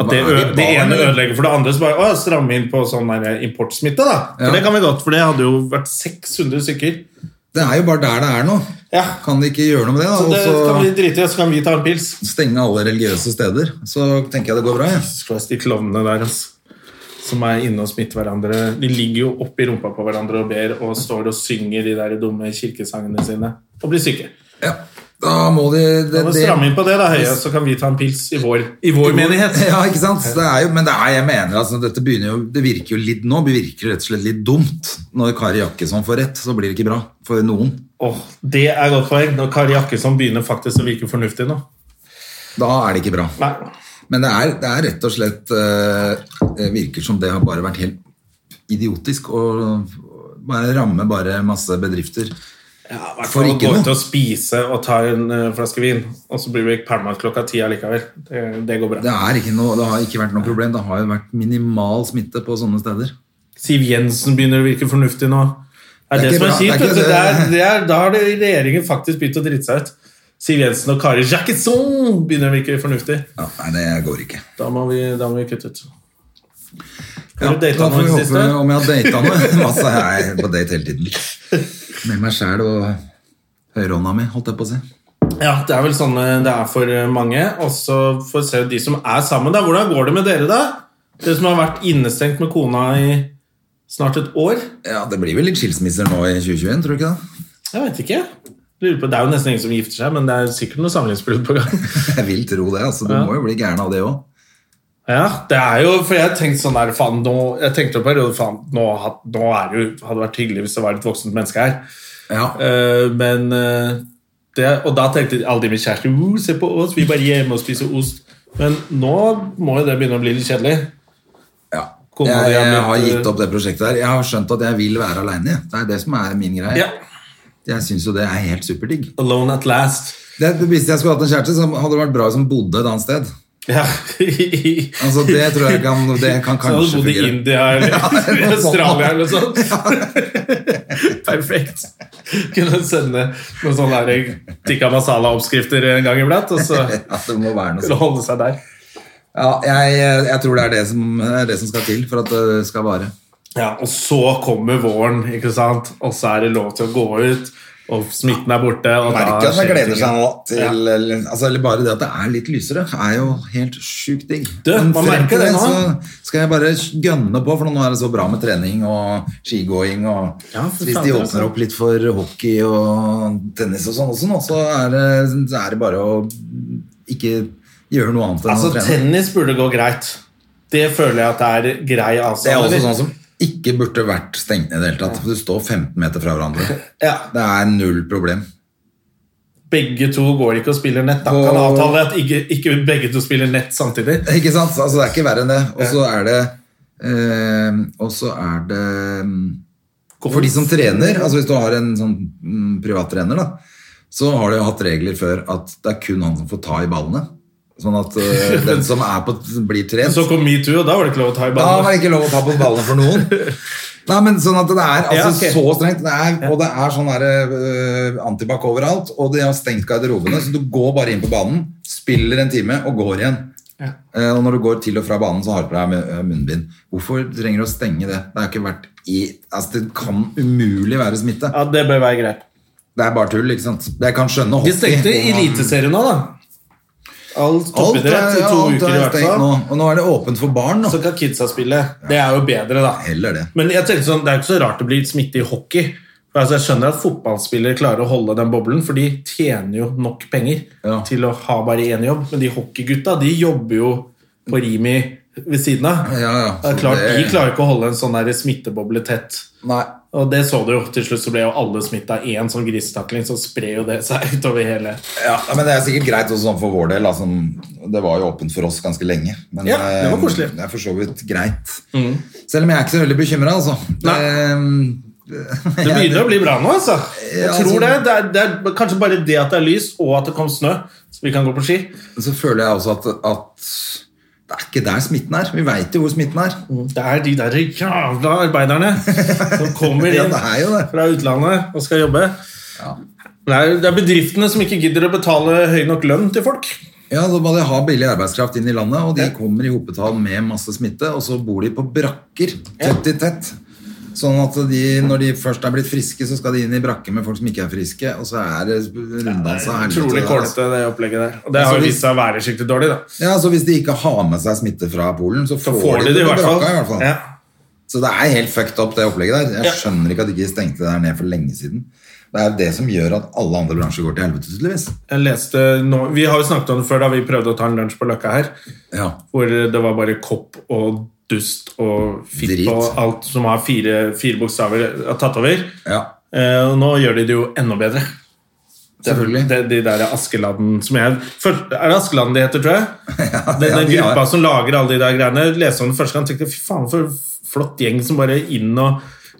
at det, Hva er det ø- det barn, ene eller? ødelegger for det andre. Så bare å, stramme inn på sånn der importsmitte, da. For Ja. det kan vi godt, for det hadde jo vært 600 stykker. Det er jo bare der det er nå. Ja. Kan de ikke gjøre noe med det? Så det da? kan vi Og drite i, og så kan vi ta en pils. så stenge alle religiøse steder. Så tenker jeg det går bra. Jeg. Jesus Christ, de klovnene der, altså. som er inne og smitter hverandre. De ligger jo oppi rumpa på hverandre og ber og står og synger de der dumme kirkesangene sine og blir syke. Ja. Da må de det, Vi må det- stramme inn på det, da, Høie, så kan vi ta en pils i vår, i vår menighet. Ja, ikke sant? Det er jo, men det er, jeg mener altså, dette begynner jo, det virker jo litt nå, det virker rett og slett litt dumt. Når Kari Jakkesson får rett, så blir det ikke bra for noen. Åh, det er godt poeng. Når Kari Jakkesson begynner faktisk å virke fornuftig nå. Da er det ikke bra. Nei. Men det er, det er rett og slett eh, det virker som det har bare vært helt idiotisk å bare ramme bare masse bedrifter. Ja, i hvert For fall ikke gå noe. ut og spise og ta en eh, flaske vin, og så blir vi pælma klokka ti allikevel. Det, det går Det, bra. er ikke noe, det har ikke vært noe problem. Det har jo vært minimal smitte på sånne steder. Siv Jensen begynner å virke fornuftig nå. Det er Det er det, ikke som er bra. kjipt. Det er vet du. ikke Det er, det. det er, da har det regjeringen faktisk begynt å drite seg ut. Siv Jensen og Kari Jakkesson begynner å virke fornuftig. Ja, nei, det går ikke. Da må vi, da må vi kutte ut. Ja, Har du data da får vi noen i det håpe siste? om jeg har data noe. Masse jeg er på date hele tiden. Med meg sjæl og høyrehånda mi, holdt jeg på å si. Ja, det er vel sånn eh, det er for eh, mange. Og så får vi se de som er sammen. da. Hvordan går det med dere, da? Dere som har vært innestengt med kona i snart et år? Ja, det blir vel litt skilsmisser nå i 2021, tror du ikke det? Jeg vet ikke. Lurer på, det er jo nesten ingen som gifter seg, men det er sikkert noe samlivsbrudd på gang. Jeg vil tro det. altså Du Ja. må jo bli gæren av det òg. Ja, det er jo, for jeg tenkte sånn der, faen, nå, jeg tenkte en periode, faen, nå, had- nå er det jo, hadde det vært hyggelig hvis det var et voksent menneske her. Ja. Eh, men eh, det, Og da tenkte alle de med kjæreste uh, Se på oss, vi bare hjemme og spiser ost. Men nå må jo det begynne å bli litt kjedelig. Ja. Kona Jeg, di er jeg blitt- har gitt opp det prosjektet der. Jeg har skjønt at jeg vil være aleine. Det er det som er min greie. Ja, Jeg syns jo det er helt superdigg. Alone at last. Det, hvis jeg skulle hatt en kjæreste, så hadde det vært bra som bodde et annet sted. Ja. Altså Det tror jeg kan, det kan Så kanskje hadde du bodd i fungere. India eller eller noe sånt. Australia eller noe sånt. Perfekt. Kunne sende noen sånne der tikka masala-oppskrifter en gang iblant, og så Ja, det må være noe sånt. kunne holde seg der. Ja, jeg, jeg tror det er det, som, er det som skal til for at det skal vare. Ja, Og så kommer våren, ikke sant? og så er det lov til å gå ut, og smitten er borte. Og Merke da at man skjer gleder ting. seg nå til eller, altså, eller bare det at det er litt lysere, er jo helt sjukt digg. Du, Men man frem merker til det nå. Så skal jeg bare gønne på, for nå er det så bra med trening og skigåing. Og Ja, for altså. hvis faen, de det er åpner sant. opp litt for hockey og tennis og sånn også nå, så er det, så er det bare å ikke gjøre noe annet enn Altså, å trene. tennis burde gå greit. Det føler jeg at det er grei Det er avstand. også sånn som ikke burde vært stengt ned i det hele tatt. for Du står 15 meter fra hverandre. ja, Det er null problem. begge to går ikke og spiller nett. Da kan Og- avtale at ikke, ikke begge to spiller nett samtidig. Ikke sant? Altså, det er ikke verre enn det. Og så er det eh, Og så er det mm, For de som trener, altså hvis du har en sånn mm, privattrener, da, så har du jo hatt regler før at det er kun han som får ta i ballene. Sånn at eh, den som er på, blir trent Så kom metoo, og da var det ikke lov å ta i Da var banen. det ikke lov å ta på ballene for noen. Nei, men sånn at det er altså, Ja, ok. så strengt. Det er, og det er sånn der, eh, antibac overalt. Og de har stengt garderobene, så du går bare inn på banen, spiller en time og går igjen. Eh, og når du går til og fra banen, så har du på deg mu- eh, munnbind. Hvorfor trenger du å stenge det? Det, er ikke vært i, altså, det kan umulig være smitte. Ja, det bør være greit. Det er bare tull, ikke sant? Jeg kan skjønne De stengte og- Eliteserien nå, da. All Alt er, toppidrett i ja, to alt uker i er hvert stengt fall. nå. Og nå er det åpent for barn. Nå. Så kan kidsa spille. Det er jo bedre, da. Heller det. Men jeg tenkte sånn, det er ikke så rart det blir smitte i hockey. For altså, jeg skjønner at fotballspillere klarer å holde den boblen, for de tjener jo nok penger Ja. til å ha bare én jobb. Men de hockeygutta de jobber jo på Rimi ved siden av. Ja, ja. Det er Så klart, det- De klarer ikke å holde en sånn der smitteboble tett. Nei. Og det så du jo. Til slutt så ble jo alle smitta av én sånn grisetakling, så sprer jo det seg utover hele Ja, men Det er sikkert greit også sånn for vår del. Altså, det var jo åpent for oss ganske lenge. Men Ja, det var koselig. eh, det er for så vidt greit. Selv om jeg er ikke så veldig bekymra, altså. Ehm, Nei. Det, Det begynner å bli bra nå, altså. Jeg Ja, altså- tror det. Det er, det er kanskje bare det at det er lys, og at det kom snø, så vi kan gå på ski. Så føler jeg også at, at det er ikke der smitten er. Vi veit jo hvor smitten er. Det er de der jævla arbeiderne som kommer Ja, inn det er jo det. fra utlandet og skal jobbe. Ja. Det er, det er bedriftene som ikke gidder å betale høy nok lønn til folk. Ja, Så må de ha billig arbeidskraft inn i landet, og de kommer i hopetall med masse smitte, og så bor de på brakker tett i tett. Sånn at de, når de først er blitt friske, så skal de inn i brakke med folk som ikke er friske. Og så er det runddans av helvete. Utrolig der, altså. kålete, det opplegget der. Og det Altså, har jo hvis- vist seg å være skikkelig dårlig, da. Ja, så Hvis de ikke har med seg smitte fra Polen, så Så får, de det i på hvert fall. brakka. i hvert fall. Ja. Så det er helt fucked up, det opplegget der. Ja. Jeg skjønner ikke at de ikke stengte det der ned for lenge siden. Det er jo det som gjør at alle andre bransjer går til helvete, tydeligvis. Jeg leste nå, Vi har jo snakket om det før da vi prøvde å ta en lunsj på Løkka her, Ja. hvor det var bare kopp og dust og fipp Drit. og alt som har fire, fire bokstaver er tatt over. ja. Eh, og nå gjør de det jo enda bedre. Selvfølgelig. De, de der Askeladden som jeg Først, Er det Askeladden de heter, tror jeg? Den, ja, den de har- gruppa som lager alle de der greiene. jeg Leste om den første gang og tenkte fy faen, for flott gjeng som bare er inn og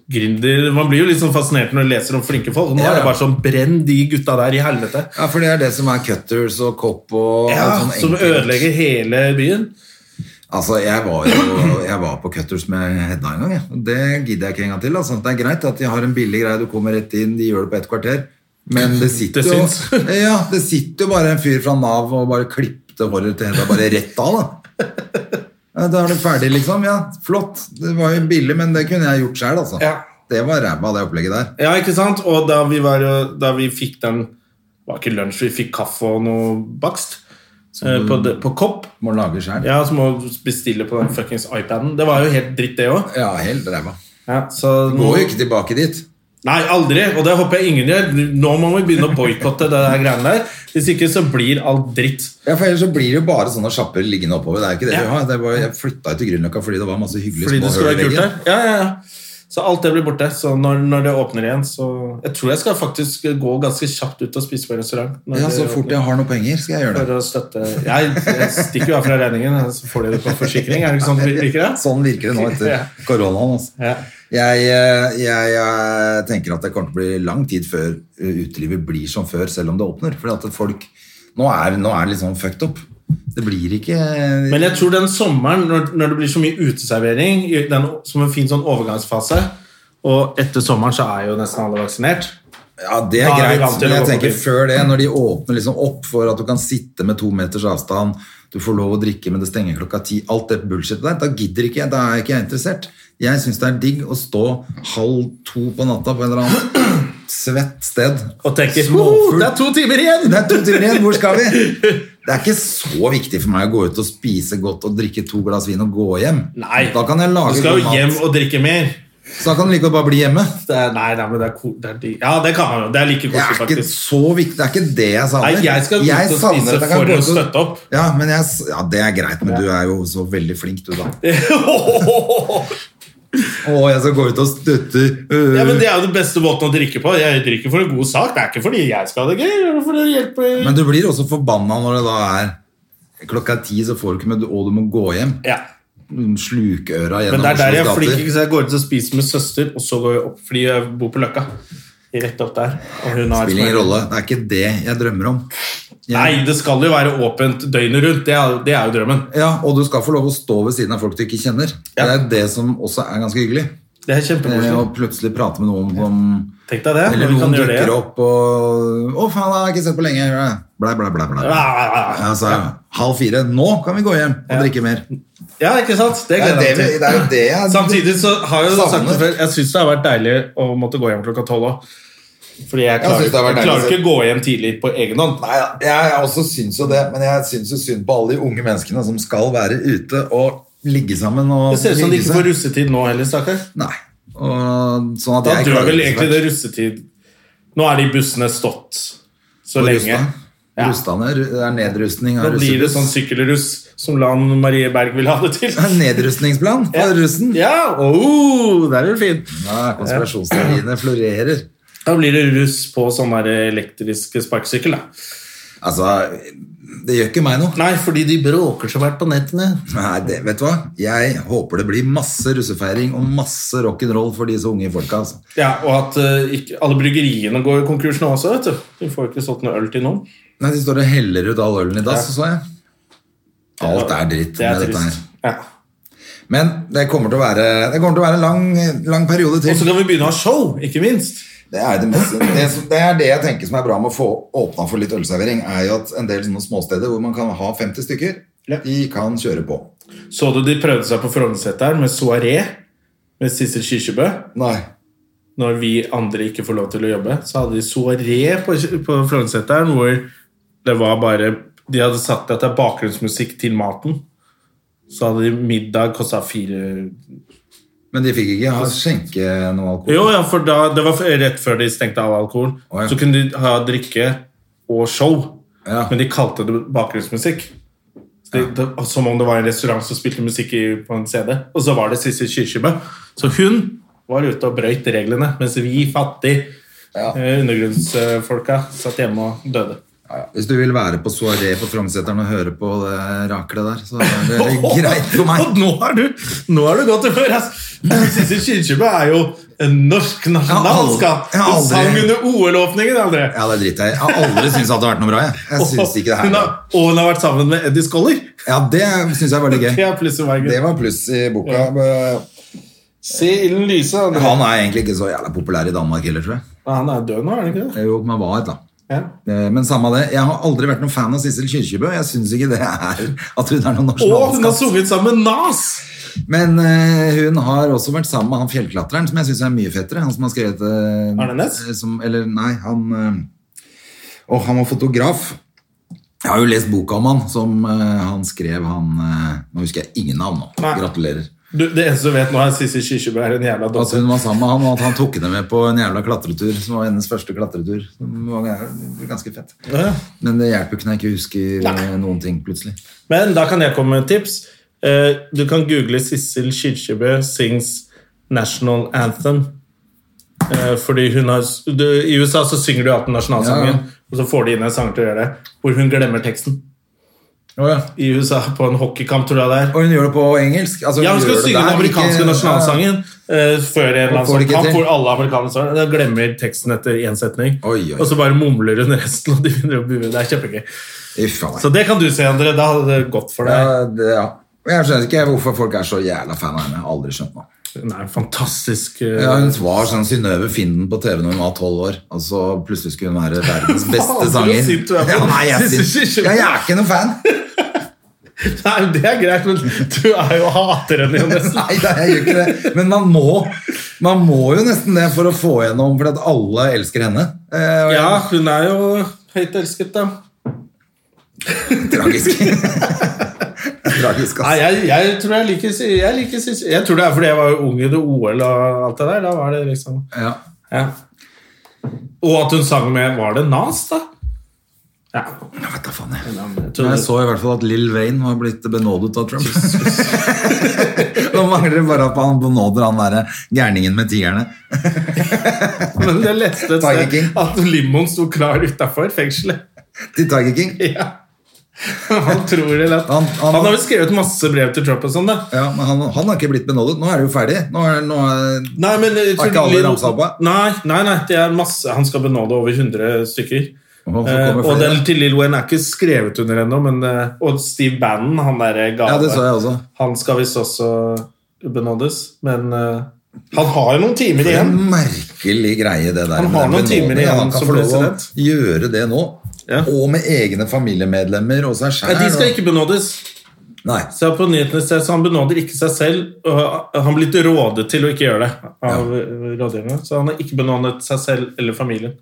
gründer. Man blir jo litt sånn fascinert når du leser om flinke folk. Nå Ja, er ja. det bare sånn brenn de gutta der i helvete. ja, for det er det som er cutters og kopp og Ja, alt sånn som enkelt. ødelegger hele byen. Altså, jeg var jo jeg var på Cutters med Hedda en gang. jeg. Og Det gidder jeg ikke en gang til. Altså. Det er greit at de har en billig greie, du kommer rett inn, de gjør det på ett kvarter. Men det sitter, Det syns. jo, ja, det sitter jo bare en fyr fra Nav og bare klippte håret til Hedda bare rett av. Da Ja, Da er du ferdig, liksom. Ja, flott. Det var jo billig, men det kunne jeg gjort sjøl, altså. Ja. Det var ræva, det opplegget der. Ja, ikke sant? Og da vi, var, jo- da vi fikk den Det var ikke lunsj, vi fikk kaffe og noe bakst eh, på, det- på kopp. Må lage sjøl. Ja, så må du bestille på den fuckings iPaden. Det var jo helt dritt, det òg. Ja, helt ræva. Ja, så nå- Går jo ikke tilbake dit. Nei, aldri. Og det håper jeg ingen gjør. Nå må vi begynne å boikotte det der greiene der. Hvis ikke så blir alt dritt. Ja, for Ellers så blir det jo bare sånne sjapper liggende oppover. Det er jo ikke det Ja. vi har. Det var, jeg flytta jo til Grünerløkka fordi det var masse hyggelige Fordi det hull skulle i være kult veggen. her. Ja, ja, ja. Så alt det blir borte. Så når, når det åpner igjen, så Jeg tror jeg skal faktisk gå ganske kjapt ut og spise på restaurant. når Ja, det så fort jeg åpner. har noen penger, skal jeg gjøre For det. å støtte Jeg, jeg stikker jo av fra regningen, så får de det på forsikring. Er det ikke sånn det virker? det? Sånn virker det nå Ja. etter koronaen. Altså. Ja. Jeg, eh, jeg, eh, tenker at det kommer til å bli lang tid før eh, utelivet blir som før, selv om det åpner. Fordi at folk Nå er, nå er det litt sånn fucked up. Det blir ikke Men jeg tror den sommeren, når, når det blir så mye uteservering, i den, som en fin sånn overgangsfase Og etter sommeren så er jo nesten alle vaksinert. Ja, det er Da er vi greit, vant til men å jeg gå på tenker byen. før det, når de åpner liksom opp for at du kan sitte med to meters avstand, du får lov å drikke, men det stenger klokka ti, alt det bullshit der, da gidder ikke jeg, da er ikke jeg interessert. Jeg syns det er digg å stå halv to på natta på en eller annen svett sted. Og tenker Småfugl. «Ho, Det er to timer igjen! Det er to timer igjen, hvor skal vi? Det er ikke så viktig for meg å gå ut og spise godt og drikke to glass vin og gå hjem. Nei, Da kan jeg lage du skal god jo mat. hjem og drikke mer. Så da kan du like godt bare bli hjemme. Det er, nei, nei, men det er, ko- det er de- Ja, det kan man jo. Det er like Det er koselig, ikke faktisk. så viktig, det er ikke det jeg savner. Nei, jeg skal ut og spise savner at jeg kan for gå å ut og- støtte opp. Ja, men jeg, s- ja, det er greit, men du er jo så veldig flink, du da. Å, jeg skal gå ut og støtte øh. Ja, men Det er jo den beste måten å drikke på. Jeg drikker for en god sak. Det er ikke fordi jeg skal ha det gøy. det er For å hjelpe Men du blir også forbanna når det da er klokka ti, så får du ikke med, og du må gå hjem. ja. Slukøra gjennom Men det er der jeg er Oslos flink. gater. ikke sant? Jeg går ut og spiser med søster, og så går jeg opp fordi jeg bor på Løkka. Rett opp der. Og hun har Spiller ingen rolle. Det er ikke det jeg drømmer om. Jeg- Nei, det skal jo være åpent døgnet rundt. Det er, det er jo drømmen. Ja, Og du skal få lov å stå ved siden av folk du ikke kjenner. Ja. Det er det som også er ganske hyggelig. Det er Eh, kjempekoselig. Å plutselig prate med noen som Tenk deg det. Eller når vi noen kan gjøre det. dukker opp og 'Å, faen, jeg har ikke sett på lenge.' Blæ, blæ, blæ. blæ. Ja, ja, ja. Ja, så er det halv fire. Nå kan vi gå hjem og drikke mer. Ja, ikke sant? Det gleder jeg meg til. er jo det jeg Samtidig så har jeg jo Savner. sagt det før, jeg syns det har vært deilig å måtte gå hjem klokka tolv òg. Fordi jeg klarer, synes det har vært jeg klarer deilig. ikke å gå hjem tidlig på egen hånd. Nei, ja, jeg også syns jo det, men jeg syns jo synd på alle de unge menneskene som skal være ute og ligge sammen og Det ser ut som de hygge ikke seg. får russetid nå heller, stakkar. Nei. Og sånn at Da jeg dør klarer vel ikke så egentlig det verst. russetid Nå er de bussene stått så Og lenge. Rusta. Ja. Rustane det er nedrustning Nå av blir det russebuss. sånn sykkelruss som Lan Marie Berg vil ha det til. Nedrustningsplan for russen. Ja, oh, der er du fin. Ja, Konspirasjonsteoriene florerer. Da blir det russ på sånn der elektrisk sparkesykkel, da. Altså, det gjør ikke meg noe. Nei, fordi de bråker så fælt på nettene. Nei, det, vet du hva? Jeg håper det blir masse russefeiring og masse rock'n'roll for disse unge folka. Altså. Ja, og at eh, ikke, alle bryggeriene går i konkurs nå også, vet du. De får ikke solgt noe øl til noen. Nei, De står og heller ut all ølen i dass, så jeg. Alt er dritt Det er med dette her. trist. Ja. Men det kommer til å være, det kommer til å være en lang, lang periode Og så til. kan vi begynne å ha show, ikke minst. Det er det, mest, det, som- det er det jeg tenker som er bra med å få åpna for litt ølservering, er jo at en del sånne småsteder hvor man kan ha 50 stykker, Ja. de kan kjøre på. Så du de prøvde seg på Frognerseteren med soaré? med Sissel Kyrkjebø Nei. når vi andre ikke får lov til å jobbe, så hadde de soaré på, på Frognerseteren, hvor det var bare De hadde sagt at det er bakgrunnsmusikk til maten. Så hadde de middag kosta fire Men de fikk ikke ha skjenke noe alkohol? Jo, ja, for da, det var rett før de stengte av alkohol. Å, ja. Så kunne de ha drikke og show, Ja. men de kalte det bakgrunnsmusikk. Så det, det, som om det var en restaurant som spilte musikk i, på en CD. Og så var det Sissel Kyrkjebø. Så hun var ute og brøyt reglene, mens vi fattige Ja. eh, undergrunnsfolka satt hjemme og døde. Ja, ja. Hvis du vil være på soaré på Frognerseteren og høre på det raklet der, så er det greit for meg. Og nå er du, nå er du godt humør, ass! Sissel Kyrkjebø er jo en norsk nasjonalskatt. Jeg har Hun aldri- sang under OL-åpningen, André. Ja, det er dritt. Jeg Jeg har aldri syntes at det har vært noe bra. Jeg, jeg synes ikke det Hun her. har, og hun har vært sammen med Eddie Scholler. Ja, Det syns jeg var litt Det gøy. er plutselig hver Det grunn. var pluss i boka. Ja. Men Se ilden lyse. André. Han er egentlig ikke så jævla populær i Danmark heller, tror jeg. Han er død nå, er han ikke det? Jo, man var et, da. Ja. Eh, Men samme det, jeg har aldri vært noen fan av Sissel Kyrkjebø. Jeg syns ikke det er at hun er noen Og hun har nasjonalskatt. sunget sammen med Nas! Men eh, hun har også vært sammen med han fjellklatreren, som jeg syns er mye fettere. Han som har skrevet eh, Arne Næss? eh, Som, eller nei, han eh, Åh, han var fotograf. Jeg har jo lest boka om han, som eh, han skrev han eh, Nå husker jeg ingen navn nå. Nei. Gratulerer. Du, det eneste du vet nå, er at Sissy Kyrkjebø er en jævla At dåse. hun var sammen med han, og at han tok henne med på en jævla klatretur. Som var hennes første klatretur. Som var ganske fett. Ja. Men det hjelper ikke når jeg ikke husker eh, noen ting plutselig. Men da kan jeg komme med et tips. Eh, Du kan google Sissel Kyrkjebø sings National Anthem. Eh, Fordi hun har du, I USA så synger du alltid nasjonalsangen, Ja. og så får de inn en sanger til å gjøre det, hvor hun glemmer teksten. I USA, på en hockeykamp, tror jeg det er. Og hun gjør det på engelsk. Altså, Ja, hun skal gjør det synge den der, men ikke- amerikanske nasjonalsangen eh, før en Og får eller det annen ikke sånn kamp til. hvor alle amerikanere står der. Da glemmer teksten etter én setning, Oi, oi. og så bare mumler hun resten, og de begynner å bue. Det er Ja. kjempegøy. Uff a meg. Så det kan du se, André. Da hadde det gått for deg. Ja, det, ja. Og Jeg skjønner ikke hvorfor folk er så jævla fan av henne. Jeg har Aldri skjønt noe. Hun er en fantastisk eh, Ja, hun var sånn Synnøve Finden på TV når hun var tolv år, og så plutselig skulle hun være verdens beste Faen, så sanger. sint du er på- Ja, nei, jeg, er sint. Synes ikke- ja, jeg er ikke noen fan. Nei, det er greit, men du er jo hater henne jo nesten. Nei, da, jeg gjør ikke det. Men man må, man må jo nesten det for å få gjennom, for at alle elsker henne. Eh, og jeg- Ja, hun er jo høyt elsket, da. Tragisk. Tragisk, altså. Nei, ass. jeg, jeg tror jeg liker Sissy. Jeg, liker Sissy. jeg tror det er fordi jeg var ung under OL og alt det der. Da var det liksom Ja. Ja. Og at hun sang med Var det Nas, da? Ja. Jeg vet da faen, jeg. Jeg Men tror jeg så i hvert fall at Lill Wayne var blitt benådet av Trump. Nå mangler det bare at han benåder han derre gærningen med tigerne. Men jeg leste et Tiger King. sted at limoen sto klar utafor fengselet. Til Tiger King. Ja. Han tror vel at Han- Han, han- har vel skrevet masse brev til Trump og sånn, da. Ja, men han, han har ikke blitt benådet. Nå er det jo ferdig. Nå er, nå er, Nei, men jeg Har tror- ikke alle ramsa opp, da? Nei, nei, nei, det er masse Han skal benåde over 100 stykker. Åh, så Eh, kommer og flere. den til Lill Wayne er ikke skrevet under ennå, men eh, Og Steve Bannon, han derre gale Ja, det så jeg også. Han skal visst også benådes, men eh, han har jo noen timer Det er igjen. en merkelig greie, det der. Han med har noen benådning. timer igjen Han kan som få lov å president. gjøre det nå. Ja. Og med egne familiemedlemmer og seg sjæl. Nei, de skal ikke benådes. Nei. Så jeg er på nyhetene ser, så Han benåder ikke seg selv. og Han blitt rådet til å ikke gjøre det av eh, rådgiverne. Så han har ikke benådet seg selv eller familien.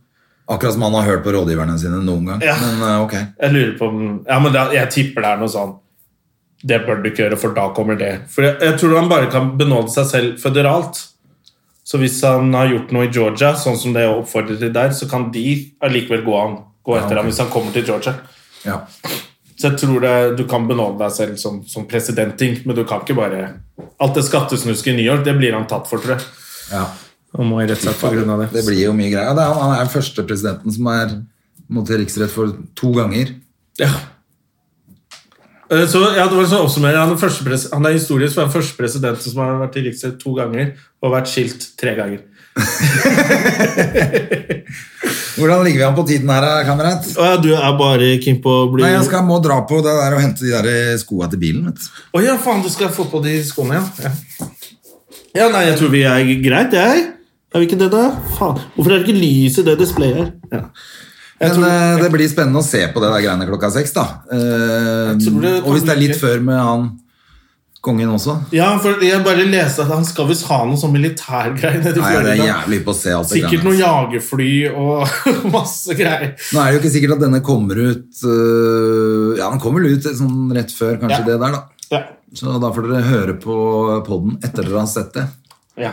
Akkurat som han har hørt på rådgiverne sine noen gang. Ja. Men eh, ok. Jeg lurer på om Ja, men da, jeg tipper det er noe sånn Det bør du ikke gjøre, for da kommer det. For jeg, jeg tror han bare kan benåde seg selv føderalt. Så hvis han har gjort noe i Georgia, sånn som det er oppfordret til der, så kan de allikevel gå, han, gå etter ok. ham hvis han kommer til Georgia. Ja. Så jeg tror det, du kan benåde deg selv som, som presidenting, men du kan ikke bare Alt det skattesnusket i New York, det blir han tatt for, tror jeg. ja. Og må i rettssak på grunn av det. Det blir jo mye greier. Ja, det er, han er den første presidenten som er måtte til riksrett for to ganger. Ja. Eh, Så, ja, det var så oppsummerer. Han er, første pres- han er historisk for den første presidenten som har vært i riksrett to ganger og vært skilt tre ganger. Hvordan ligger vi an på tiden her, eh, kamerat? Å ja, du er bare keen på å bli Nei, jeg skal, må dra på det der og hente de der eh, skoa til bilen. Vet. du. Å ja, faen, du skal få på de skoene igjen. Ja. ja, nei, jeg tror vi er greit, jeg. Er vi ikke det, da? Faen. Hvorfor er det ikke lys i det displayet her? Ja. Jeg Men tror- eh, det blir spennende å se på det der greiene klokka seks, da. Eh, Jeg tror det kan og hvis det er litt bli- før med han Kongen også. Ja, for jeg bare leste at han skal visst ha noe sånn militærgreie Nei, nede i det er Florida. jævlig på å se alt det Sikkert greiene. noen jagerfly og masse greier. Nå er det jo ikke sikkert at denne kommer ut øh, Ja, den kommer vel ut sånn rett før kanskje Ja. det der, da. Ja. Så da får dere høre på poden etter dere har sett det. ja.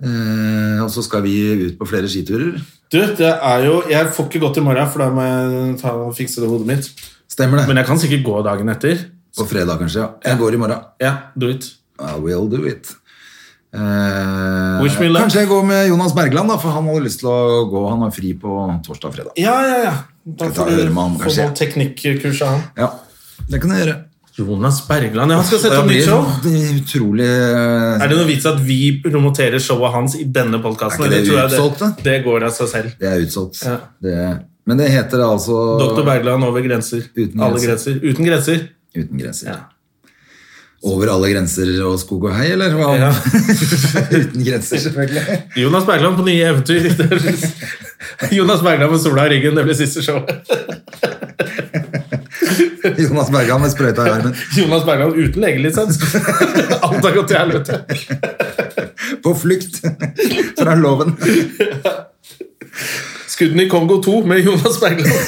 Eh, og så skal vi ut på flere skiturer. Du, det er jo Jeg får ikke gått i morgen, for da må jeg ta og fikse det hodet mitt. Stemmer det? Men jeg kan sikkert gå dagen etter. På fredag, kanskje. ja. Jeg går i morgen. Ja, do it. I will do it. Eh, Wish me luck. kanskje jeg går med Jonas Bergland, da, for han hadde lyst til å gå. Han har fri på torsdag og fredag. Ja, ja, ja. Da Skal ta og høre med ham, få kanskje. noen teknikkurs av han. Ja, det kan jeg gjøre. Jonas Bergland. Ja, han skal sette opp Det nytt show. blir utrolig eh, Er det noe vits at vi promoterer showet hans i denne podkasten? Er ikke det det, utsolgt, det går av seg selv. Det er utsolgt. Ja. Det, men det heter altså Dr. Bergland over grenser. Uten Alle grenser. grenser. Uten grenser. Uten grenser. Ja. Over alle grenser og skog og hei, eller? Hva? Ja. Uten grenser, selvfølgelig. Jonas Bergland på nye eventyr. Det blir- Jonas Bergland med sola i ryggen, det blir siste showet. Jonas Bergan med sprøyta i armen. Jonas Bergland uten legelisens. Alt har gått til helvete. På flukt fra loven. Skuddene i Kongo 2 med Jonas Bergland.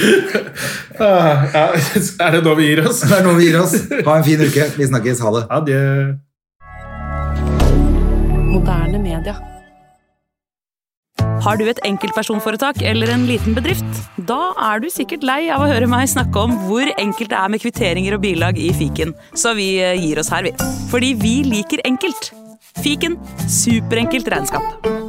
Ah, ja, er det nå vi gir oss? Det er noe vi gir oss. Ha en fin uke. Vi snakkes. Ha det. Adjø. Moderne media. Har du et enkeltpersonforetak eller en liten bedrift? Da er du sikkert lei av å høre meg snakke om hvor enkelt det er med kvitteringer og bilag i fiken, så vi eh, gir oss her, vi. Fordi vi liker enkelt. Fiken superenkelt regnskap.